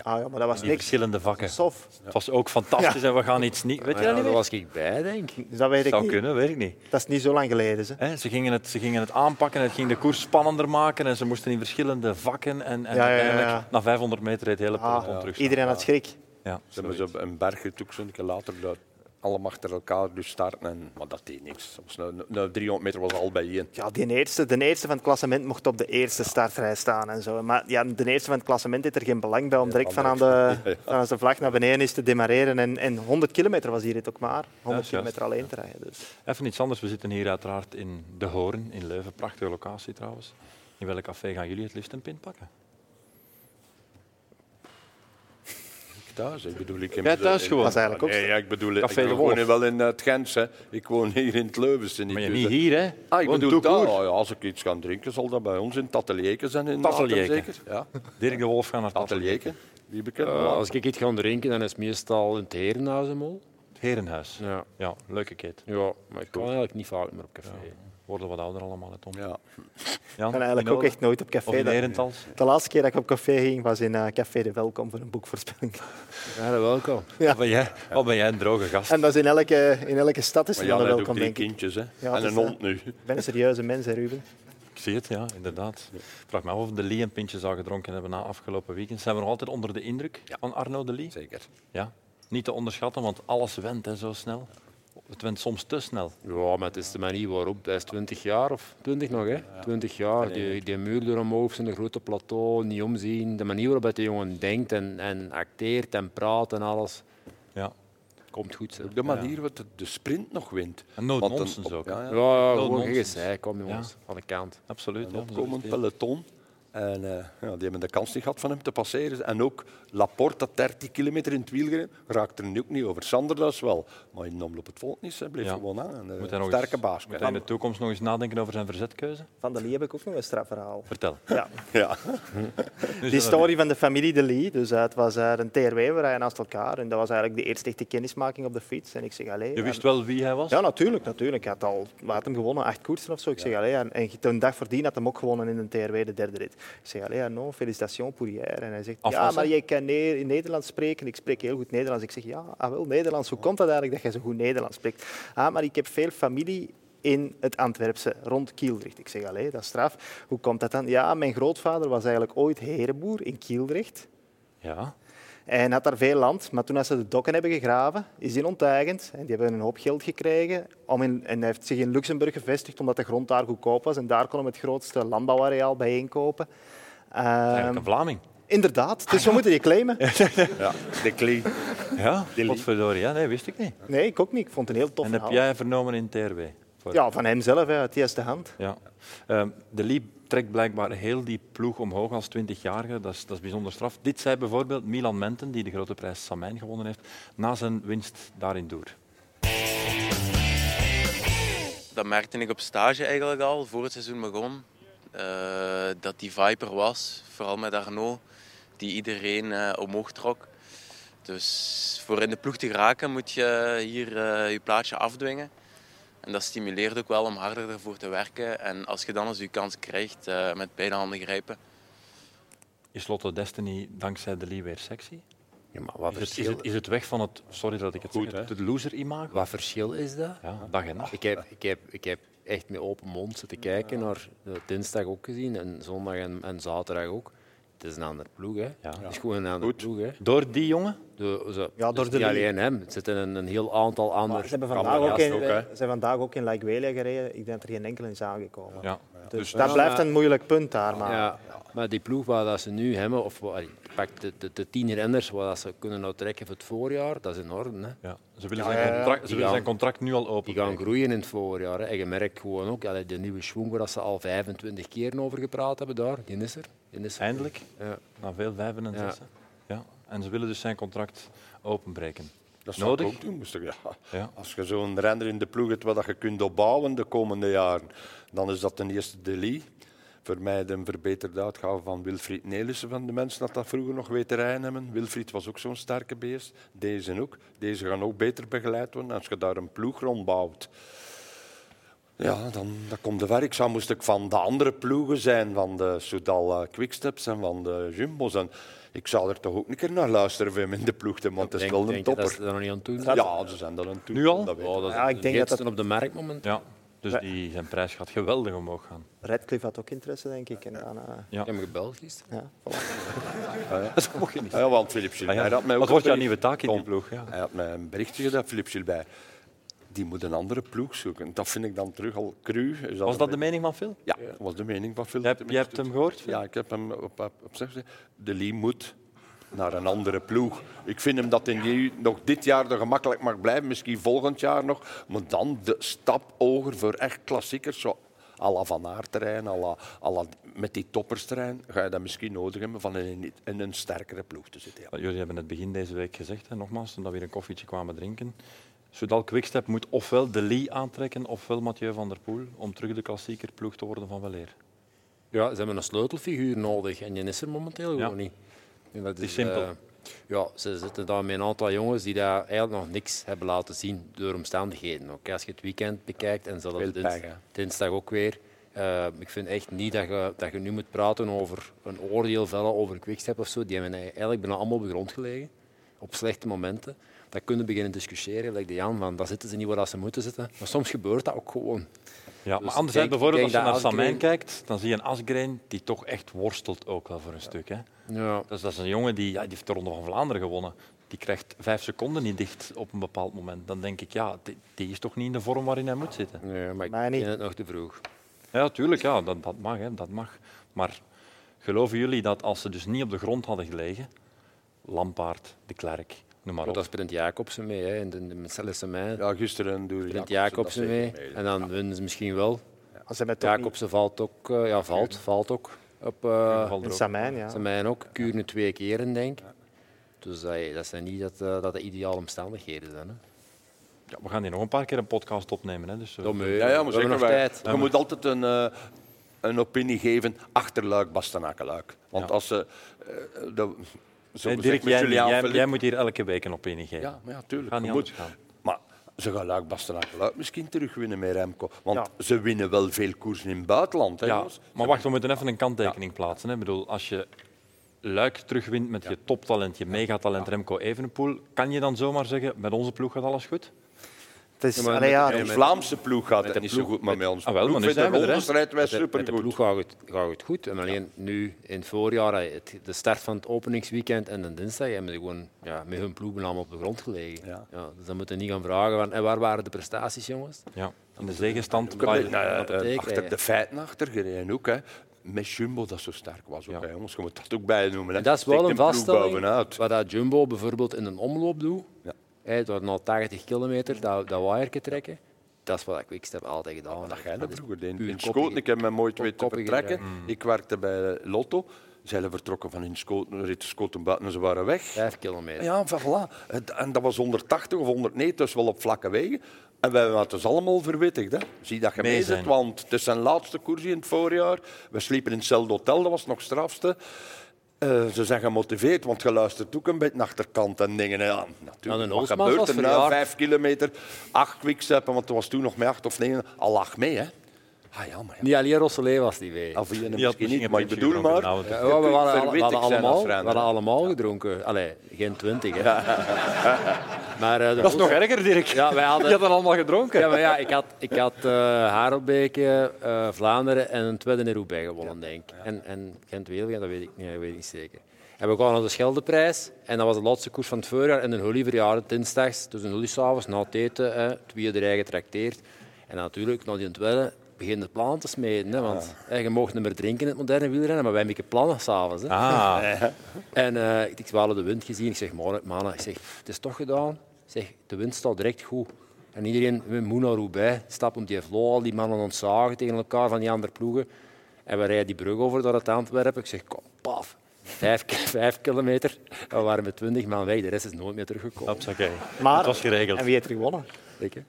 S3: Ah ja, maar dat was
S1: Die
S3: niks.
S1: verschillende vakken.
S3: Sof.
S1: Het was ook fantastisch en we gaan iets niet... Weet je
S2: Ja,
S1: dat niet
S2: daar
S1: meer?
S2: was ik bij, denk ik.
S3: Dus dat weet ik
S1: Zou
S3: niet.
S1: kunnen, weet ik niet.
S3: Dat is niet zo lang geleden. Ze.
S1: Hè, ze, gingen het, ze gingen het aanpakken en het ging de koers spannender maken en ze moesten in verschillende vakken en, en
S3: Ja, ja, ja, ja.
S1: uiteindelijk na 500 meter reed het hele peloton
S3: Ah,
S1: terug.
S3: Iedereen had schrik.
S1: Ja,
S4: Ze hebben ze een berg getoekt, een keer later dat allemaal achter elkaar dus starten. En, maar dat deed niks. Dat was nou, nou, 300 meter was al bij één.
S3: Ja, die eerste, de eerste van het klassement mocht op de eerste startrij staan. En zo. Maar ja, de eerste van het klassement heeft er geen belang bij om direct van aan de, van aan zijn vlag naar beneden is te demareren. En, en 100 kilometer was hier het ook maar. 100
S1: juist.
S3: kilometer alleen te rijden. Dus.
S1: Even iets anders. We zitten hier uiteraard in De Hoorn in Leuven. Prachtige locatie trouwens. In welk café gaan jullie het liefst een pint pakken?
S4: Thuis, ik bedoel, ik in-
S1: Jij thuis
S4: in-
S1: gewoon?
S3: Dat is eigenlijk ook
S4: Nee, ja, ik bedoel, ik
S1: Café de
S4: woon
S1: Wolf.
S4: hier wel in het Gens. Hè. Ik woon hier in het Leuvense.
S1: Maar je
S4: dus,
S1: niet
S4: hè.
S1: hier, hè?
S4: Ah, ik
S1: Gewoon
S4: bedoel,
S1: tout
S4: daar,
S1: court.
S4: ja, als ik iets ga drinken, zal dat bij ons in Tatelieken zijn. In
S1: Tatelieke.
S4: Latham zeker? Ja,
S1: Dirk de Wolf gaat naar het
S4: Tatelieke. Wie bekend?
S2: Eh, als ik iets ga drinken, dan is het meestal in het herenhuis een mol.
S1: Herenhuis. Ja.
S2: Ja.
S1: leuke kid.
S2: ja, maar ik kan eigenlijk niet vaak meer op café.
S1: Worden wat ouder allemaal, hè, Tom.
S4: Ja.
S1: Jan,
S3: Ik ben eigenlijk ook echt nooit op
S1: Of
S3: café.
S1: in
S3: Dat-
S1: Herentals.
S3: De laatste keer dat ik op café ging was in eh, Café de Welkom voor een boekvoorspelling.
S2: Ja, welkom.
S1: Wat ben, jij, wat ben jij een droge gast?
S3: En dat is in elke, in elke stad is
S4: Maar
S3: er
S4: Jan
S3: wel een
S4: heeft ook
S3: welkom,
S4: drie
S3: denk ik.
S4: kindjes hè.
S3: Ja, het
S4: en een
S3: is,
S4: hond nu.
S3: Ik ben een serieuze mens, hè, Ruben.
S1: Ik zie het, ja, inderdaad. Ik vraag me af of de Lee een pintje zou gedronken hebben na afgelopen weekend. Zijn we nog altijd onder de indruk van Arno de Lee?
S4: Zeker.
S1: Ja. Niet te onderschatten, want alles went hè, zo snel. Het went soms te snel.
S2: Ja, maar het is de manier waarop. Hij is 20 jaar of 20 nog, hè? 20 jaar. Die, die muur door omhoog, zijn grote plateau, niet omzien. De manier waarop de jongen denkt en, en acteert en praat en alles.
S1: Ja.
S2: Komt goed. Hè.
S4: Ook de manier waarop de- de sprint nog wint.
S1: En no
S4: Want een-
S1: nonsense ook, hè.
S4: Ja, ja.
S2: Ja, ja
S1: Wel
S2: gewoon
S1: nonsens.
S2: gezegd. Kom jongens,
S1: Ja.
S2: aan de kant.
S1: Absoluut.
S4: Een
S1: ja.
S4: opkomend peloton. En eh, ja, die hebben de kans niet gehad van hem te passeren. En ook Laporte, dat 30 kilometer in het wiel gereden, raakt er nu ook niet over. Sander dat is wel. Maar in de omloop het volk niet. Hij bleef
S1: Ja.
S4: gewoon aan. Een
S1: Moet hij nog
S4: sterke
S1: eens-
S4: baas.
S1: Moet hij in de toekomst nog eens nadenken over zijn verzetkeuze?
S3: Van de Lee heb ik ook nog een strafverhaal.
S1: Vertel.
S3: Ja.
S4: Ja.
S1: Dus
S3: De historie van de familie De Lee. Dus eh, het was eh, een TRW, we rijden naast elkaar. En dat was eigenlijk de eerste echte kennismaking op de fiets. En ik zeg, allee...
S1: Je
S3: en-
S1: wist wel wie hij was?
S3: Ja, natuurlijk, natuurlijk. Hij had al we hadden hem gewonnen, acht koersen of zo. Ik zeg, allee, en, en een dag voordien had hem ook gewonnen in een TRW, de derde rit. Ik zeg, allee, non, félicitations pour hier. En hij zegt, ja,
S1: Afwassen?
S3: maar jij kan ne- in Nederlands spreken. Ik spreek heel goed Nederlands. Ik zeg, ja, ah, wel, Nederlands. Hoe komt dat eigenlijk dat jij zo goed Nederlands spreekt? Ah, maar ik heb veel familie in het Antwerpse, rond Kieldrecht. Ik zeg, allee, dat is straf. Hoe komt dat dan? Ja, mijn grootvader was eigenlijk ooit herenboer in Kieldrecht.
S1: Ja.
S3: En had daar veel land, maar toen als ze de dokken hebben gegraven, is die onteigend. En die hebben een hoop geld gekregen. Om in, en hij heeft zich in Luxemburg gevestigd, omdat de grond daar goedkoop was. En daar kon hem het grootste landbouwareaal bijeenkopen. Ehm,
S1: Eigenlijk een Vlaming.
S3: inderdaad, dus we moeten die claimen.
S4: ja. De Klee.
S1: Ja, potverdorie. Ja, nee, wist ik niet.
S3: Nee, ik ook niet. Ik vond het een heel tof
S1: En heb
S3: verhaal.
S1: jij vernomen in TRW? Voor-
S3: nou- Ja, van hem zelf, hè, uit eerste hand.
S1: Ja. Ehm, de Lee trekt blijkbaar heel die ploeg omhoog als 20-jarige. Dat is, dat is bijzonder straf. Dit zei bijvoorbeeld Milan Menten, die de grote prijs Samijn gewonnen heeft, na zijn winst daarin door.
S8: dat merkte ik op stage eigenlijk al, voor het seizoen begon. eh, dat die Viper was, vooral met Arno, die iedereen eh, omhoog trok. Dus voor in de ploeg te geraken moet je hier eh, je plaatje afdwingen. En dat stimuleert ook wel om harder ervoor te werken. En als je dan eens je kans krijgt, eh, met beide handen grijpen.
S1: Is Lotto Destiny dankzij de Lee weer sexy?
S2: Ja, maar wat
S1: Is het,
S2: verschil
S1: is
S2: is,
S1: het, is het weg van het, sorry dat ik het zeg, het, het loser-imago?
S2: wat verschil is dat?
S1: Ja, dag en nacht.
S2: Ik heb, ik, heb, ik heb echt met open mond zitten kijken naar eh, dinsdag ook gezien en zondag en, en zaterdag ook. Het is een ander ploeg, hè?
S1: Ja.
S2: Het is gewoon een ander ploeg, hè?
S1: Door die jongen?
S2: De, ze,
S3: Ja, door
S2: dus
S3: de
S2: niet
S3: league.
S2: alleen hem. Het zitten een, een heel aantal andere.
S3: Ze hebben vandaag ook
S4: Camera's
S3: in,
S4: ook,
S3: ze
S4: hè.
S3: hebben vandaag ook in Laiguelia gereden. Ik denk dat er geen enkele is aangekomen.
S1: Ja.
S3: Dus
S2: Ja,
S3: dat blijft
S2: maar-
S3: een moeilijk punt daar. Maar.
S2: Ja, maar die ploeg waar dat ze nu hebben, of waar- allee, pak de, de, de tien renners waar dat ze kunnen uittrekken voor het voorjaar, dat is in orde. Hè.
S1: Ja. Ze willen,
S3: Ja,
S1: zijn,
S3: ja, ja.
S1: contract, ze
S2: Die
S1: willen zijn
S2: gaan-
S1: contract nu al open.
S2: Die gaan groeien in het voorjaar. Hè. En je merkt gewoon ook, allee, de nieuwe schwung waar dat ze al 25 keer over gepraat hebben daar, die is er. Die is er.
S1: Eindelijk,
S2: Ja.
S1: na veel vijven en
S2: Ja.
S1: zessen. Ja. En ze willen dus zijn contract openbreken.
S4: Dat zou
S1: Nodig?
S4: ik ook doen. moest ik- ja.
S1: Ja.
S4: Als je zo'n renner in de ploeg hebt wat je kunt opbouwen de komende jaren, dan is dat ten eerste Deli. Voor mij de verbeterde uitgave van Wilfried Nelissen van de mensen dat dat vroeger nog weten hebben. Wilfried was ook zo'n sterke beest. Deze ook. Deze gaan ook beter begeleid worden als je daar een ploeg rondbouwt. Ja, dan dat komt de werk. Zo moest ik van de andere ploegen zijn, van de Soudal eh, Quicksteps en van de Jumbo's. En ik zou er toch ook een keer naar luisteren voor hem in de ploeg, te want het is
S2: Denk-
S4: wel een
S2: denk je
S4: topper.
S2: Dat ze er nog niet aan toe zijn?
S4: Ja, ze zijn er aan toe.
S1: Nu al?
S4: Dat weet
S2: Oh,
S4: ik.
S2: dat is
S3: Ja, ik
S2: de
S3: denk dat
S2: geitste op de markt momenteel.
S1: Ja. Dus die, zijn prijs gaat geweldig omhoog gaan.
S3: Radcliffe had ook interesse, denk ik. En dan, eh,
S2: Ik heb hem gebeld gisteren.
S3: ja.
S1: Dat mocht je niet.
S4: Ja, want Philip Gilbert
S1: Ah,
S4: had mij ook
S1: Wat wordt jouw
S4: een bericht-
S1: nieuwe taak in die
S4: Tom,
S1: ploeg? Ja.
S4: Hij had mij een berichtje gedaan, Philip Gilbert. Die moet een andere ploeg zoeken. Dat vind ik dan terug al cru. Is
S1: Was
S4: een
S1: dat de
S4: beetje-
S1: mening van Phil?
S4: Ja, dat was de mening van Philip.
S1: Je hebt- je hebt hem gehoord, Phil?
S4: Ja, ik heb hem op, op, op zich gezegd. De Lee moet naar een andere ploeg. Ik vind hem dat in die, nog dit jaar er gemakkelijk mag blijven. Misschien volgend jaar nog. Maar dan de stap hoger voor echt klassiekers. Zo à la Van Aert-terrein, à la, à la- met die toppersterrein ga je dat misschien nodig hebben van in, in een sterkere ploeg te zitten. ja.
S1: Want Jullie hebben het begin deze week gezegd, hè, nogmaals, toen we weer een koffietje kwamen drinken. Soudal Quickstep moet ofwel de Lee aantrekken, ofwel Mathieu van der Poel, om terug de klassieker ploeg te worden van Weleer.
S2: Ja, ze hebben een sleutelfiguur nodig en die is er momenteel
S1: Ja.
S2: gewoon niet. En dat
S1: is simpel.
S2: eh, ja, ze zitten daar met een aantal jongens die daar eigenlijk nog niks hebben laten zien door omstandigheden. Ook als je het weekend bekijkt en zelfs
S4: Veel
S2: dins-
S4: pech, hè.
S2: dinsdag ook weer. Eh, ik vind echt niet dat je, dat je nu moet praten over een oordeel vellen over Quickstep of zo. Die hebben eigenlijk bijna allemaal op de grond gelegen, op slechte momenten. Dat kunnen beginnen discussiëren, like de Jan, van daar zitten ze niet waar dat ze moeten zitten. Maar soms gebeurt dat ook gewoon.
S1: Ja,
S2: Dus
S1: maar
S2: ik denk-
S1: anderzijds, bijvoorbeeld
S2: ik
S1: als je
S2: denk
S1: naar
S2: dat
S1: Samijn
S2: Asgreen-
S1: kijkt, dan zie je een Asgreen die toch echt worstelt ook wel voor een stuk. Hè.
S2: Ja.
S1: Dus dat is een jongen die, ja, die heeft de Ronde van Vlaanderen gewonnen. Die krijgt vijf seconden niet dicht op een bepaald moment. Dan denk ik, ja, die, die is toch niet in de vorm waarin hij moet zitten.
S2: Nee, maar ik
S3: Mij niet.
S2: vind het nog te vroeg.
S1: Ja, tuurlijk, ja, dat, dat, mag, hè, dat mag. Maar geloven jullie dat als ze dus niet op de grond hadden gelegen, Lampaard, de Klerk, noem maar
S2: Maar
S1: op.
S2: dat speelt Jacobsen mee, hè. in de, de Marcellus mee.
S4: Ja, gisteren doe
S2: Sprint Jacobsen mee. En dan winnen ze misschien wel.
S3: Als hij met toch niet-
S2: Jacobsen valt ook, eh, ja, valt, valt ook. Op
S1: Dan
S2: eh
S1: valt er
S3: in
S1: ook-
S3: Samijn, ja.
S2: Samijn ook. Kuurne twee keren, denk ik. Dus eh, dat zijn niet dat, eh, dat de ideale omstandigheden zijn. Hè.
S1: Ja, we gaan hier nog een paar keer een podcast opnemen. Hè, dus, eh,
S2: Domme,
S4: Ja, ja, maar
S2: we hebben
S4: zeker
S2: nog
S4: waar.
S2: tijd.
S4: Je moet altijd een, eh, een opinie geven achterluik, bastenakenluik. Want
S1: Ja.
S4: als ze... eh, dat- zo
S1: nee,
S4: gezegd
S1: Dirk,
S4: met
S1: jij,
S4: Juliaan
S1: jij,
S4: Philippe-
S1: jij moet hier elke week een opinie geven.
S4: Ja, maar ja, tuurlijk.
S1: Gaat
S4: je
S1: niet
S4: moet.
S1: anders gaan.
S4: Maar ze gaan luik, bastenakenluik misschien terugwinnen met Remco. Want
S3: Ja.
S4: ze winnen wel veel koersen in het buitenland. Hè,
S1: Ja,
S4: jongens?
S1: maar wacht, we moeten even een kanttekening plaatsen. Hè. Ik bedoel, als je Luik terugwint met je toptalent, je megatalent Remco Evenepoel, kan je dan zomaar zeggen, met onze ploeg gaat alles goed?
S3: Het is,
S2: Ja, maar
S3: allee, ja,
S4: Met
S3: dat-
S4: Ons Vlaamse ploeg gaat het
S2: de
S4: niet zo
S2: ploeg-
S4: goed, maar met ons
S1: Ah, wel, maar
S4: ploeg
S1: nu
S4: vinden
S1: zijn we er, hè.
S4: rondes rijden wij
S2: Met de- Met de
S4: supergoed.
S2: ploeg gaat het, gaat het goed. En alleen nu in het voorjaar, eh, het- de start van het openingsweekend en de dinsdag, hebben ze gewoon ja, met hun ploegbenaam op de grond gelegen. Ja.
S4: Ja.
S2: dus dan moeten we niet gaan vragen van, en waar waren de prestaties, jongens?
S1: Ja. In de zegenstand...
S4: Ik heb
S1: bij-
S4: net, nou ja,
S2: dat betekent,
S4: achter
S2: hè.
S4: de feiten achtergereden ook. Hè. Met Jumbo dat zo sterk was ook.
S1: Ja.
S4: Hè, jongens, je moet dat ook bijnoemen. Hè.
S2: En dat is wel
S4: Steekt
S2: een
S4: ploeg
S2: vaststelling
S4: bovenuit.
S2: wat dat Jumbo bijvoorbeeld in een omloop doet.
S4: Ja.
S2: Hey, het wordt nou 80 kilometer, dat, dat waaierke trekken. Dat is wat ik Quickstep altijd gedaan
S4: Dat
S2: heeft.
S4: jij dat
S2: is
S4: vroeger deed.
S2: puur
S4: In
S2: koppige-
S4: Schoten, ik heb mij mooi twee te
S2: koppige
S4: vertrekken. Ik werkte bij Lotto. Zij zijn vertrokken van in Schoten, ritten Schoten buiten en ze waren weg.
S2: Vijf kilometer.
S4: Ja, van voilà. Het- En dat was 180 of 190, dus wel op vlakke wegen. En wij hadden het dus allemaal verwittigd. Hè. Zie dat je
S1: Mee
S4: mee
S1: zijn.
S4: zit, want het is zijn laatste koers in het voorjaar. We sliepen in hetzelfde hotel, dat was nog strafste. Eh, ze zijn gemotiveerd, want je luistert ook een beetje naar de kant en dingen. Ja,
S2: Nou, de
S4: natuurlijk. Wat
S2: Noosmans
S4: gebeurt
S2: was
S4: er
S2: verjaard.
S4: nou? Vijf kilometer, acht quicksteppen, want er was toen nog met acht of negen. Al lag mee, hè. Ah ja, maar ja.
S2: Niet alleen Rosselet was die weg.
S4: Al vier en
S1: Die had
S4: misschien
S1: misschien
S4: niet, maar
S1: een
S4: ik
S1: pintje
S4: bedoel maar...
S1: gedronken, nou,
S4: je
S1: het-
S2: Ja, we
S4: kunt
S2: waren, al- we
S4: Ah, verwittigd
S2: hadden
S4: zijn als
S2: allemaal, we
S4: renner.
S2: hadden allemaal gedronken. Allee, geen twintig, hè. Maar, eh, de
S1: Dat is nog
S2: Rosse-
S1: erger, Dirk.
S2: Ja, wij
S1: Je
S2: hadden...
S1: had dan allemaal gedronken.
S2: Ja, maar ja, ik had, ik had eh Harelbeke, eh, Vlaanderen en een tweede in Roubaix gewonnen, denk ik. En, en Gent-Wevelgem, dat weet ik niet, dat weet ik niet zeker. En we kwamen naar de Scheldeprijs. En dat was de laatste koers van het voorjaar. En een hully verjaarde dinsdags. Dus een hully s'avonds, na het eten, hè, het bier er eigen getrakteerd. En natuurlijk, na die tweede, beginnen plannen te smeden. Hè, want hè, je mag niet meer drinken in het moderne wielrennen, maar wij maken plannen s'avonds. hè.
S1: Ah,
S2: En eh ik, ik had de wind gezien. Ik zeg, mannen, mannen, ik zeg, het is toch gedaan. Ik zeg, de wind staat direct goed. En iedereen, we moeten naar Roubaix. Stap om die vlo, al die mannen ontzagen tegen elkaar van die andere ploegen. En we rijden die brug over door het Antwerpen. Ik zeg, kom, paf. Vijf, ki- vijf kilometer. En we waren met twintig man weg. De rest is nooit meer teruggekomen.
S1: dat is oké.
S3: Maar,
S1: Het was geregeld.
S3: En wie heeft er gewonnen?
S2: Kijk, hè.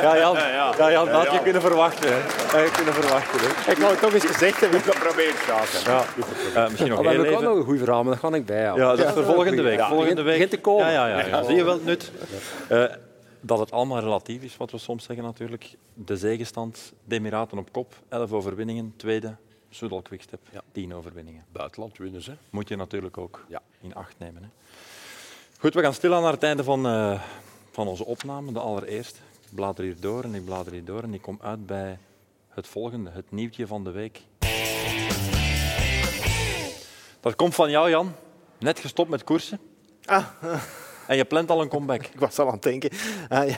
S1: Ja, Jan, ja, Jan dat had je kunnen verwachten. Hè. Had je kunnen verwachten. Hè.
S3: Ik wou het toch eens gezegd hebben.
S9: Probeer het zaken.
S1: Ja. Eh, misschien nog
S2: Ah, Maar we
S1: heel
S2: hebben ook nog
S1: even.
S2: een goed verhaal, maar dat ga ik bijhouden.
S1: Ja, dat is voor volgende week. Volgende
S2: begint-
S1: week.
S2: begint te komen.
S1: Ja, ja, ja, ja. Zie je wel het nut? Eh, dat het allemaal relatief is, wat we soms zeggen natuurlijk. De zegenstand, de Emiraten op kop, 11 overwinningen. Tweede, Soudal Quickstep, 10 overwinningen.
S4: Buitenland winnen ze.
S1: Moet je natuurlijk ook
S4: Ja.
S1: in acht nemen. Hè. Goed, we gaan stilaan naar het einde van, eh, van onze opname, de allereerste. Ik blader hier door en ik blader hier door en ik kom uit bij het volgende, het nieuwtje van de week. Dat komt van jou, Jan. Net gestopt met koersen.
S3: Ah.
S1: En je plant al een comeback.
S3: Ik was al aan het denken. Ah, ja.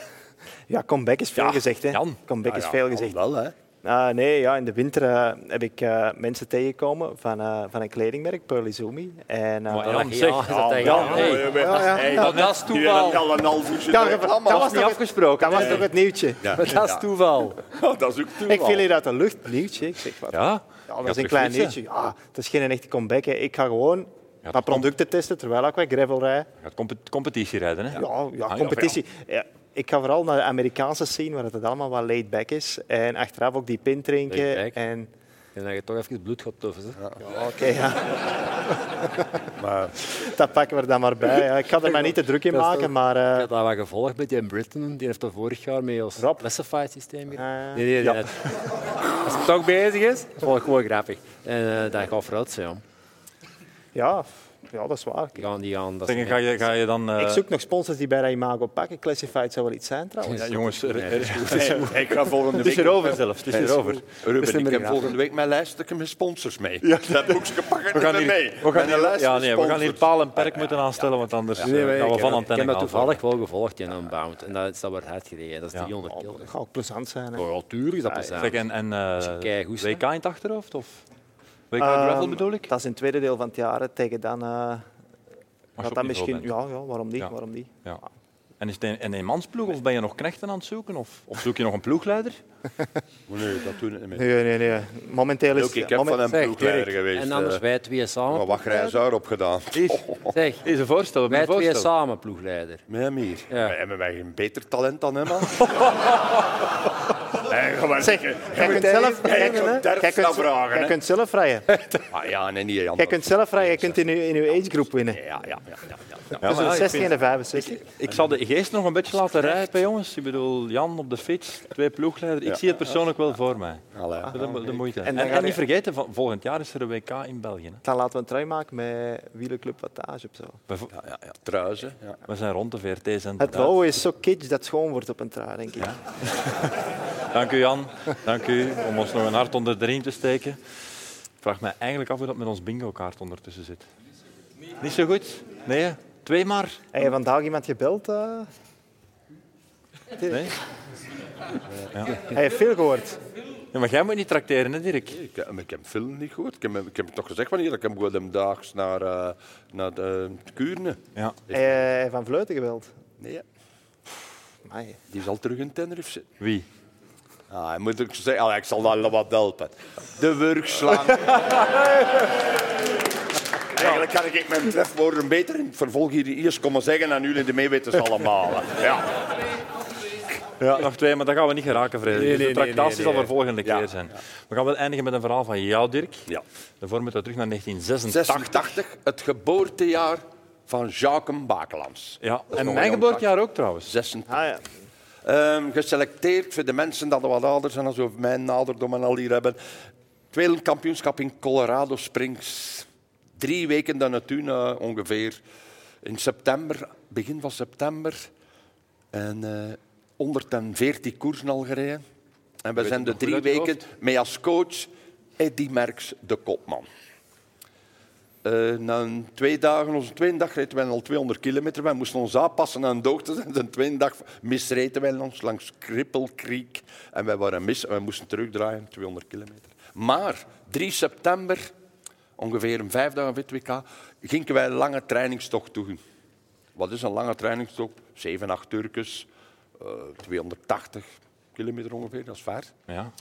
S3: ja, comeback is veel gezegd. Hè.
S1: Jan.
S3: Comeback is veel gezegd.
S4: Wel, hè?
S3: Ah, nee, ja, in de winter eh, heb ik eh, mensen tegengekomen van, eh, van een kledingmerk, Pearl Izumi. En, eh,
S1: Maar
S3: dat-
S1: Jan, zeg.
S2: Ja, dat,
S1: Jan,
S2: hey.
S1: hey.
S9: Hey,
S2: dat, dat is
S9: nu heb
S2: toeval.
S9: ik al een half uurtje
S3: Ja,
S9: door.
S3: dat was
S1: niet
S3: toch het-
S1: afgesproken.
S3: Dat was toch het nieuwtje?
S2: Dat is toeval.
S9: Dat is ook toeval.
S3: Ik viel hier uit de lucht, nieuwtje. Ik zeg, wat? Ja,
S1: Ja?
S3: dat is een klein nieuwtje. Ja, het is geen echte comeback. Hè. Ik ga gewoon
S1: Ja,
S3: wat producten testen, terwijl ik wat gravel rijd.
S1: Je gaat compe- competitie rijden, hè?
S3: Ja, ja,
S1: ja,
S3: competitie. Ja, ik ga vooral naar de Amerikaanse scene, waar het allemaal wat laid back is. En achteraf ook die pin
S2: Laid
S3: drinken.
S2: back.
S3: En,
S2: En dan heb je toch even bloed gaat tuffen. hè.
S3: Oké, ja. Dat pakken we er dan maar bij. ja. Ik ga er mij niet te druk in
S2: Dat is
S3: maken,
S2: ook-
S3: maar...
S2: Ik
S3: eh,
S2: had dat wat gevolgd met die in Britain. Die heeft dat vorig jaar mee als
S3: Rob.
S2: classified systeem gedaan.
S3: Eh,
S2: nee, nee,
S3: ja.
S2: nee. Als het toch bezig is, is het wel gewoon grappig. En eh, dat gaat vooruit zijn. jong.
S3: ja, ja, dat is waar.
S2: Die gaan, die gaan. Dat is
S1: Zeggen, ga, je, ga je dan... eh,
S3: Ik zoek nog sponsors die bij dat imago pakken. Classified zou wel iets zijn, trouwens.
S1: Ja, jongens, er, er is goed.
S9: Hey, ik ga volgende
S1: Het is
S9: week...
S1: erover zelfs. Het is erover.
S4: Ruben, ik heb volgende week mijn lijstje met sponsors mee.
S9: Dat boekje pakken
S1: We gaan
S9: er mee.
S1: hier, we gaan
S9: Met een
S1: hier,
S9: lijst
S1: ja,
S9: met
S1: nee, we gaan hier
S9: sponsors.
S1: paal en perk moeten aanstellen, want anders eh,
S2: maar
S1: gaan we
S2: ik-
S1: van
S2: Ik heb
S1: antenne
S2: dat
S1: gaan.
S2: toevallig wel gevolgd in Unbound. En dat is dat wordt hard gereden. Dat is
S1: Ja.
S2: 300 kilo.
S3: Dat gaat ook plezant zijn. hè.
S2: Ja, tuurlijk is dat plezant.
S1: Zeg, en en eh,
S2: keigoed, hè?
S1: WK in het achterhoofd? Of? WK
S3: Ehm,
S1: gravel bedoel ik?
S3: Dat is in het tweede deel van het jaar. hè. Tegen dan eh,
S1: Als je
S3: gaat
S1: op
S3: dat
S1: niveau
S3: misschien...
S1: bent.
S3: Ja, ja, waarom niet?
S1: Ja.
S3: Waarom niet?
S1: Ja. En is het een, een eenmansploeg of ben je nog knechten aan het zoeken? Of, of zoek je nog een ploegleider?
S4: Nee, dat doen we niet meer.
S3: Nee, nee, nee. Momenteel is
S4: Ook ik heb van een
S2: Zeg,
S4: ploegleider
S2: Dirk,
S4: geweest.
S2: En anders
S4: eh,
S2: wij twee samen.
S4: maar wat grijs haar opgedaan.
S2: Zeg,
S1: Is een voorstel, we
S2: wij
S1: hebben een
S2: twee
S1: voorstel.
S2: samen ploegleider.
S4: Met hem hier.
S2: Ja.
S4: Wij hebben wij geen beter talent dan hem, man?
S9: Hey, ga maar
S3: Zeg,
S9: zeggen.
S3: jij kunt zelf
S9: Jij
S3: jij
S9: kunt
S3: kunt-
S9: dertig
S3: jij kunt-
S9: vragen,
S3: jij
S9: hè.
S3: kunt zelf rijden.
S4: Ah, ja, nee, niet Jan.
S3: Jij kunt zelf rijden. Jij kunt in je, in uw agegroep winnen.
S4: Ja, ja, ja. ja, ja.
S3: Tussen
S1: maar
S3: de
S1: ja, ik
S3: 16 en de 65.
S1: Ik zal de geest nog een beetje laten rijpen, jongens. Ik bedoel, Jan op de fiets, twee ploegleiders. Ik zie het persoonlijk wel voor mij.
S4: Allee.
S1: De, de moeite.
S3: dan
S1: En,
S3: ga
S1: en,
S3: je-
S1: niet vergeten, van- volgend jaar is er een WK in België. hè.
S3: Dan laten we een trui maken met wielenclub Wattage of zo.
S1: We, vo-
S4: Ja, ja, ja. Truizen. Ja.
S1: we zijn rond de VRT-zender.
S3: Het logo is zo kitsch dat het schoon wordt op een trui, denk ik.
S1: Dank u, Jan. Dank u om ons nog een hart onder de riem te steken. Ik vraag me eigenlijk af hoe dat met ons bingo-kaart ondertussen zit. Niet zo goed? Nee? hè? Twee maar?
S3: Heb je vandaag iemand gebeld? eh?
S1: Nee?
S3: Hij heeft veel gehoord.
S1: Ja, maar jij moet niet tracteren, hè, Dirk?
S4: Ik, heb- ik heb film niet gehoord. Ik heb, ik heb toch gezegd van hier, ik heb gewoon daags naar, eh, naar de Kuurne.
S1: Ja.
S3: Hij eh, hij heeft van Vleuten gebeld.
S4: Nee,
S3: Amai.
S4: die zal terug in Tenerife zitten.
S1: Wie?
S4: Ah, hij moet ook zeggen, ah, ik zal daar wel wat helpen. De wurgslang. Eigenlijk kan ik mijn trefwoorden beter in het vervolg hier eerst komen zeggen en jullie de meewetens allemaal. Ja.
S1: Ja. Nog twee, maar dat gaan we niet geraken, Frederik.
S2: Nee,
S1: Dus
S2: nee,
S1: de
S2: nee,
S1: tractatie
S2: nee,
S1: zal
S2: nee.
S1: voor volgende
S4: Ja.
S1: keer zijn. We gaan wel eindigen met een verhaal van jou, Dirk.
S4: ja.
S1: Daarvoor moeten we terug naar 1986.
S4: 86, het geboortejaar van Jacques Bakelands.
S1: Ja.
S4: nog
S1: En
S4: een
S1: mijn geboortejaar ook, trouwens.
S4: 86.
S3: Ah, ja.
S4: Ehm, geselecteerd voor de mensen dat er wat ouder zijn, als over mijn naderdom en al hier hebben. Het wereldkampioenschap in Colorado Springs. Drie weken daarnaartoe eh, ongeveer. In september, begin van september. En eh, 114 koersen al gereden. En we zijn de
S1: nog goed
S4: drie
S1: uit je
S4: weken mee als coach Eddy Merks, de kopman. eh, na een twee dagen, onze tweede dag reden wij al 200 kilometer. Wij moesten ons aanpassen aan de hoogte. En de tweede dag misreden wij ons langs Krippelkriek. En wij waren mis en wij moesten terugdraaien, 200 kilometer. Maar 3 september, ongeveer een vijf dagen wit WK, gingen wij een lange trainingstocht doen. Wat is een lange trainingstocht? 7, 8 Turkers, eh, 280 kilometer ongeveer, dat is ver.
S1: Ja.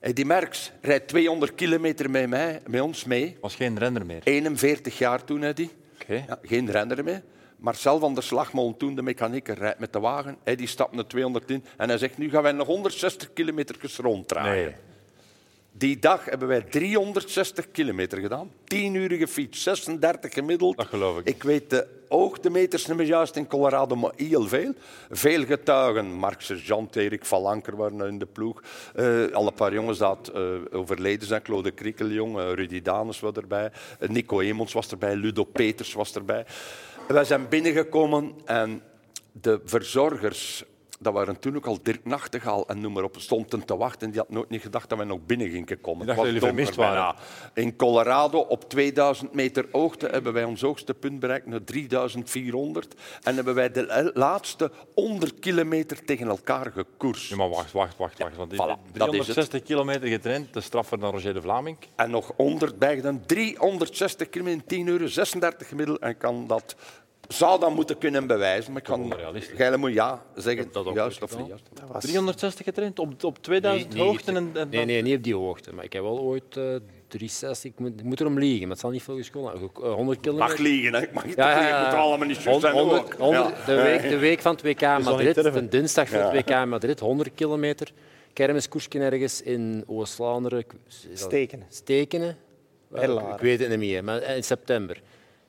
S4: Hey, die Merks rijdt 200 kilometer met, mij, met ons mee.
S1: was geen renner meer.
S4: 41 jaar toen, hè, die.
S1: Oké.
S4: Ja, geen renner meer. Marcel van der Slagmolen, toen de mechanieker, rijdt met de wagen. Hij die stapt naar 200 in en hij zegt, nu gaan wij nog 160 kilometer ronddraaien.
S1: Nee.
S4: Die dag hebben wij 360 kilometer gedaan. 10 uurige fiets, 36 gemiddeld.
S1: Dat geloof ik.
S4: Ik weet de hoogtemeters niet meer juist in Colorado, maar heel veel. Veel getuigen. Mark Sergeant, Erik Van Lanker waren in de ploeg. Eh, al een paar jongens dat eh, overleden zijn. Claude Krikkeljong, eh, Rudy Danes was erbij. Eh, Nico Emons was erbij. Ludo Peters was erbij. Wij zijn binnengekomen en de verzorgers, dat waren toen ook al Dirk Nachtegaal en noem maar op, stonden te wachten. Die had nooit niet gedacht dat wij nog binnen gingen komen.
S1: Die dachten
S4: Het was
S1: dat jullie vermist
S4: donker
S1: waren.
S4: bijna. In Colorado, op 2000 meter hoogte, hebben wij ons hoogste punt bereikt naar 3400. En hebben wij de laatste 100 kilometer tegen elkaar gekoerst.
S1: Ja, maar wacht, wacht, wacht. wacht want
S4: voilà, dat is het.
S1: 360 kilometer getraind, de straffer dan Roger de Vlaming.
S4: En nog 100 bijgedaan. 360 kilometer in 10 uur, 36 gemiddeld. En ik kan dat, zou dat moeten kunnen bewijzen. Maar ik kan
S1: onrealistisch.
S4: Gijlen moet ja zeggen, juist of
S2: gedaan.
S4: niet juist.
S3: Dat was
S1: 360 getraind op, op 2000
S2: Nee, nee,
S1: hoogten. En, en
S2: Nee, nee, niet op die hoogte. Maar ik heb wel ooit eh 360... Ik moet, ik moet erom liegen, maar het zal niet veel gescholen. hebben. Eh, 100 kilometer...
S4: Mag liegen, hè. ik mag niet ja, Ik moet allemaal niet juist zijn.
S2: 100,
S4: hoor.
S2: 100
S4: Ja.
S2: de, week, de week van het WK in Madrid,
S3: durven.
S2: de dinsdag van het WK in Madrid, 100 kilometer. Kermiskoersje ergens in Oost-Vlaanderen. Ik- is dat-
S3: Stekenen.
S2: Stekenen.
S3: Berlaren.
S2: Ik weet het niet meer, maar in september.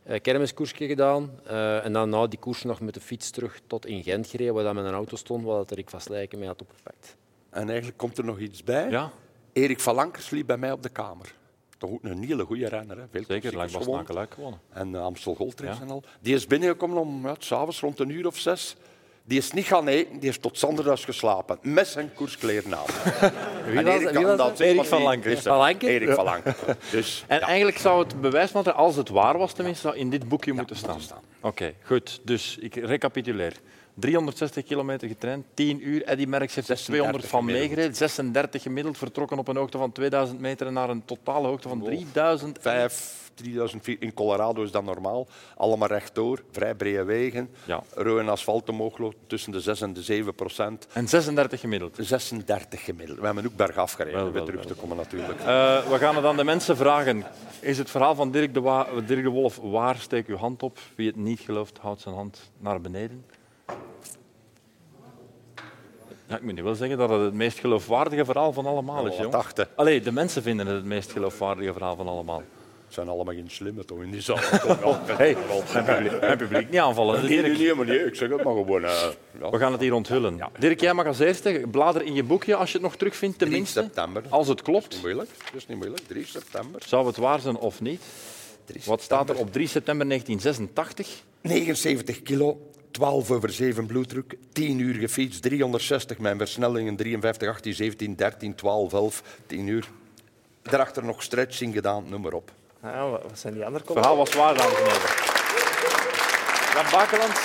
S2: Eh, kermiskoersje gedaan eh, en dan na die koers nog met de fiets terug tot in Gent gereden, waar dan met een auto stond, waar dat Rick van Slijken mij had opgepakt.
S4: En eigenlijk komt er nog iets bij.
S1: ja,
S4: Erik van Lankers liep bij mij op de kamer. Toch ook een hele goede renner. Hè. Veel
S1: zeker.
S4: klassiekers
S1: Langbas
S4: gewonnen.
S1: Nakeluik gewonnen.
S4: En eh, Amstel Goldreeks
S1: Ja.
S4: en al. Die is binnengekomen om ja, 's avonds rond een uur of zes. Die is niet gaan eten, die is tot zanderhuis geslapen. Met zijn koerskleren aan.
S2: Wie
S4: En
S2: was-
S4: Erik
S2: wie
S4: kan
S2: was
S4: dat
S2: dat?
S4: zeggen,
S1: Erik
S4: want
S1: van
S4: die-
S1: Lanker.
S4: is er.
S2: Van Lanker?
S4: Erik van Lanker. Dus,
S1: En
S4: ja.
S1: eigenlijk zou het bewijsmateriaal, als het waar was tenminste, zou in dit boekje moeten staan. Oké, goed. Dus ik recapituleer. 360 kilometer getraind, 10 uur. Eddy Merckx heeft er 200 van
S4: gemiddeld.
S1: meegereden. 36 gemiddeld, vertrokken op een hoogte van 2000 meter en naar een totale hoogte van 3000.
S4: Vijf, 3004 in Colorado is dat normaal. Allemaal rechtdoor, vrij brede wegen.
S1: Ja.
S4: Rode en asfalt omhoog loopt, tussen de 6 en de 7 procent.
S1: En 36 gemiddeld.
S4: 36 gemiddeld. We hebben ook bergaf gereden,
S1: Wel,
S4: om weer
S1: wel,
S4: terug
S1: wel.
S4: te komen natuurlijk.
S1: Eh, we gaan het aan de mensen vragen. Is het verhaal van Dirk de, Wa- Dirk de Wolf waar? Steek uw hand op. Wie het niet gelooft, houdt zijn hand naar beneden. Ja, ik moet nu wel zeggen dat het het meest geloofwaardige verhaal van allemaal is.
S4: Wat
S1: Jong.
S4: dachten?
S1: Allee, de mensen vinden het het meest geloofwaardige verhaal van allemaal.
S4: Het zijn allemaal geen slimme toch in die zaal. Hey,
S1: Mijn publiek niet aanvallen. hè,
S4: nee,
S1: Dirk.
S4: nee, maar nee, ik zeg het maar gewoon. eh, ja.
S1: We gaan het hier onthullen. Dirk, jij mag als eerste blader in je boekje als je het nog terugvindt,
S4: 3
S1: tenminste.
S4: september.
S1: Als het klopt,
S4: Moeilijk, dat is niet moeilijk. 3 september.
S1: zou het waar zijn of niet?
S4: 3
S1: Wat staat er op 3 september 1986?
S4: 79 kilo, 12 over 7 bloeddruk, 10 uur gefietst, 360 mijn versnellingen, 53, 18, 17, 13, 12, 11, 10 uur. Daarachter nog stretching gedaan, noem maar op.
S3: Ja, Nou, wat wat zijn die andere
S1: Het
S3: comments?
S1: verhaal was waar, dames en heren. Jan Bakeland,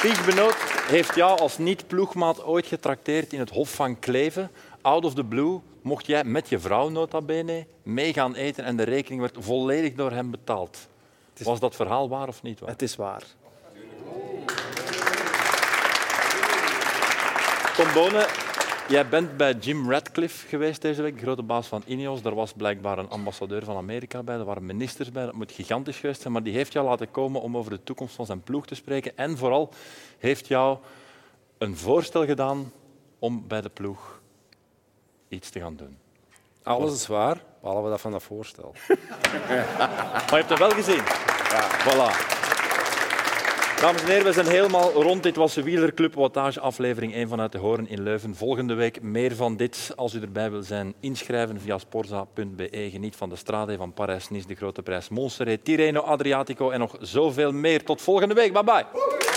S1: Piet Benoot, heeft jou als niet-ploegmaat ooit getrakteerd in het Hof van Kleven. Out of the blue mocht jij met je vrouw, nota bene, mee gaan eten en de rekening werd volledig door hem betaald. Was dat verhaal waar of niet waar?
S3: Het is waar.
S1: Tom Bonen, jij bent bij Jim Radcliffe geweest deze week, de grote baas van Ineos. Daar was blijkbaar een ambassadeur van Amerika bij, er waren ministers bij. Dat moet gigantisch geweest zijn, maar die heeft jou laten komen om over de toekomst van zijn ploeg te spreken. En vooral heeft jou een voorstel gedaan om bij de ploeg iets te gaan doen.
S2: Alles is waar, behalve dat van dat voorstel.
S1: Maar je hebt het wel gezien. Voilà. Dames en heren, we zijn helemaal rond. Dit was de Wielerclub Wattage, aflevering 1 vanuit de Hoorn in Leuven. Volgende week meer van dit. Als u erbij wil zijn, inschrijven via sporza.be. Geniet van de strade van Parijs-Nice, de grote prijs Montserrat, Tirreno, Adriatico en nog zoveel meer. Tot volgende week. Bye bye.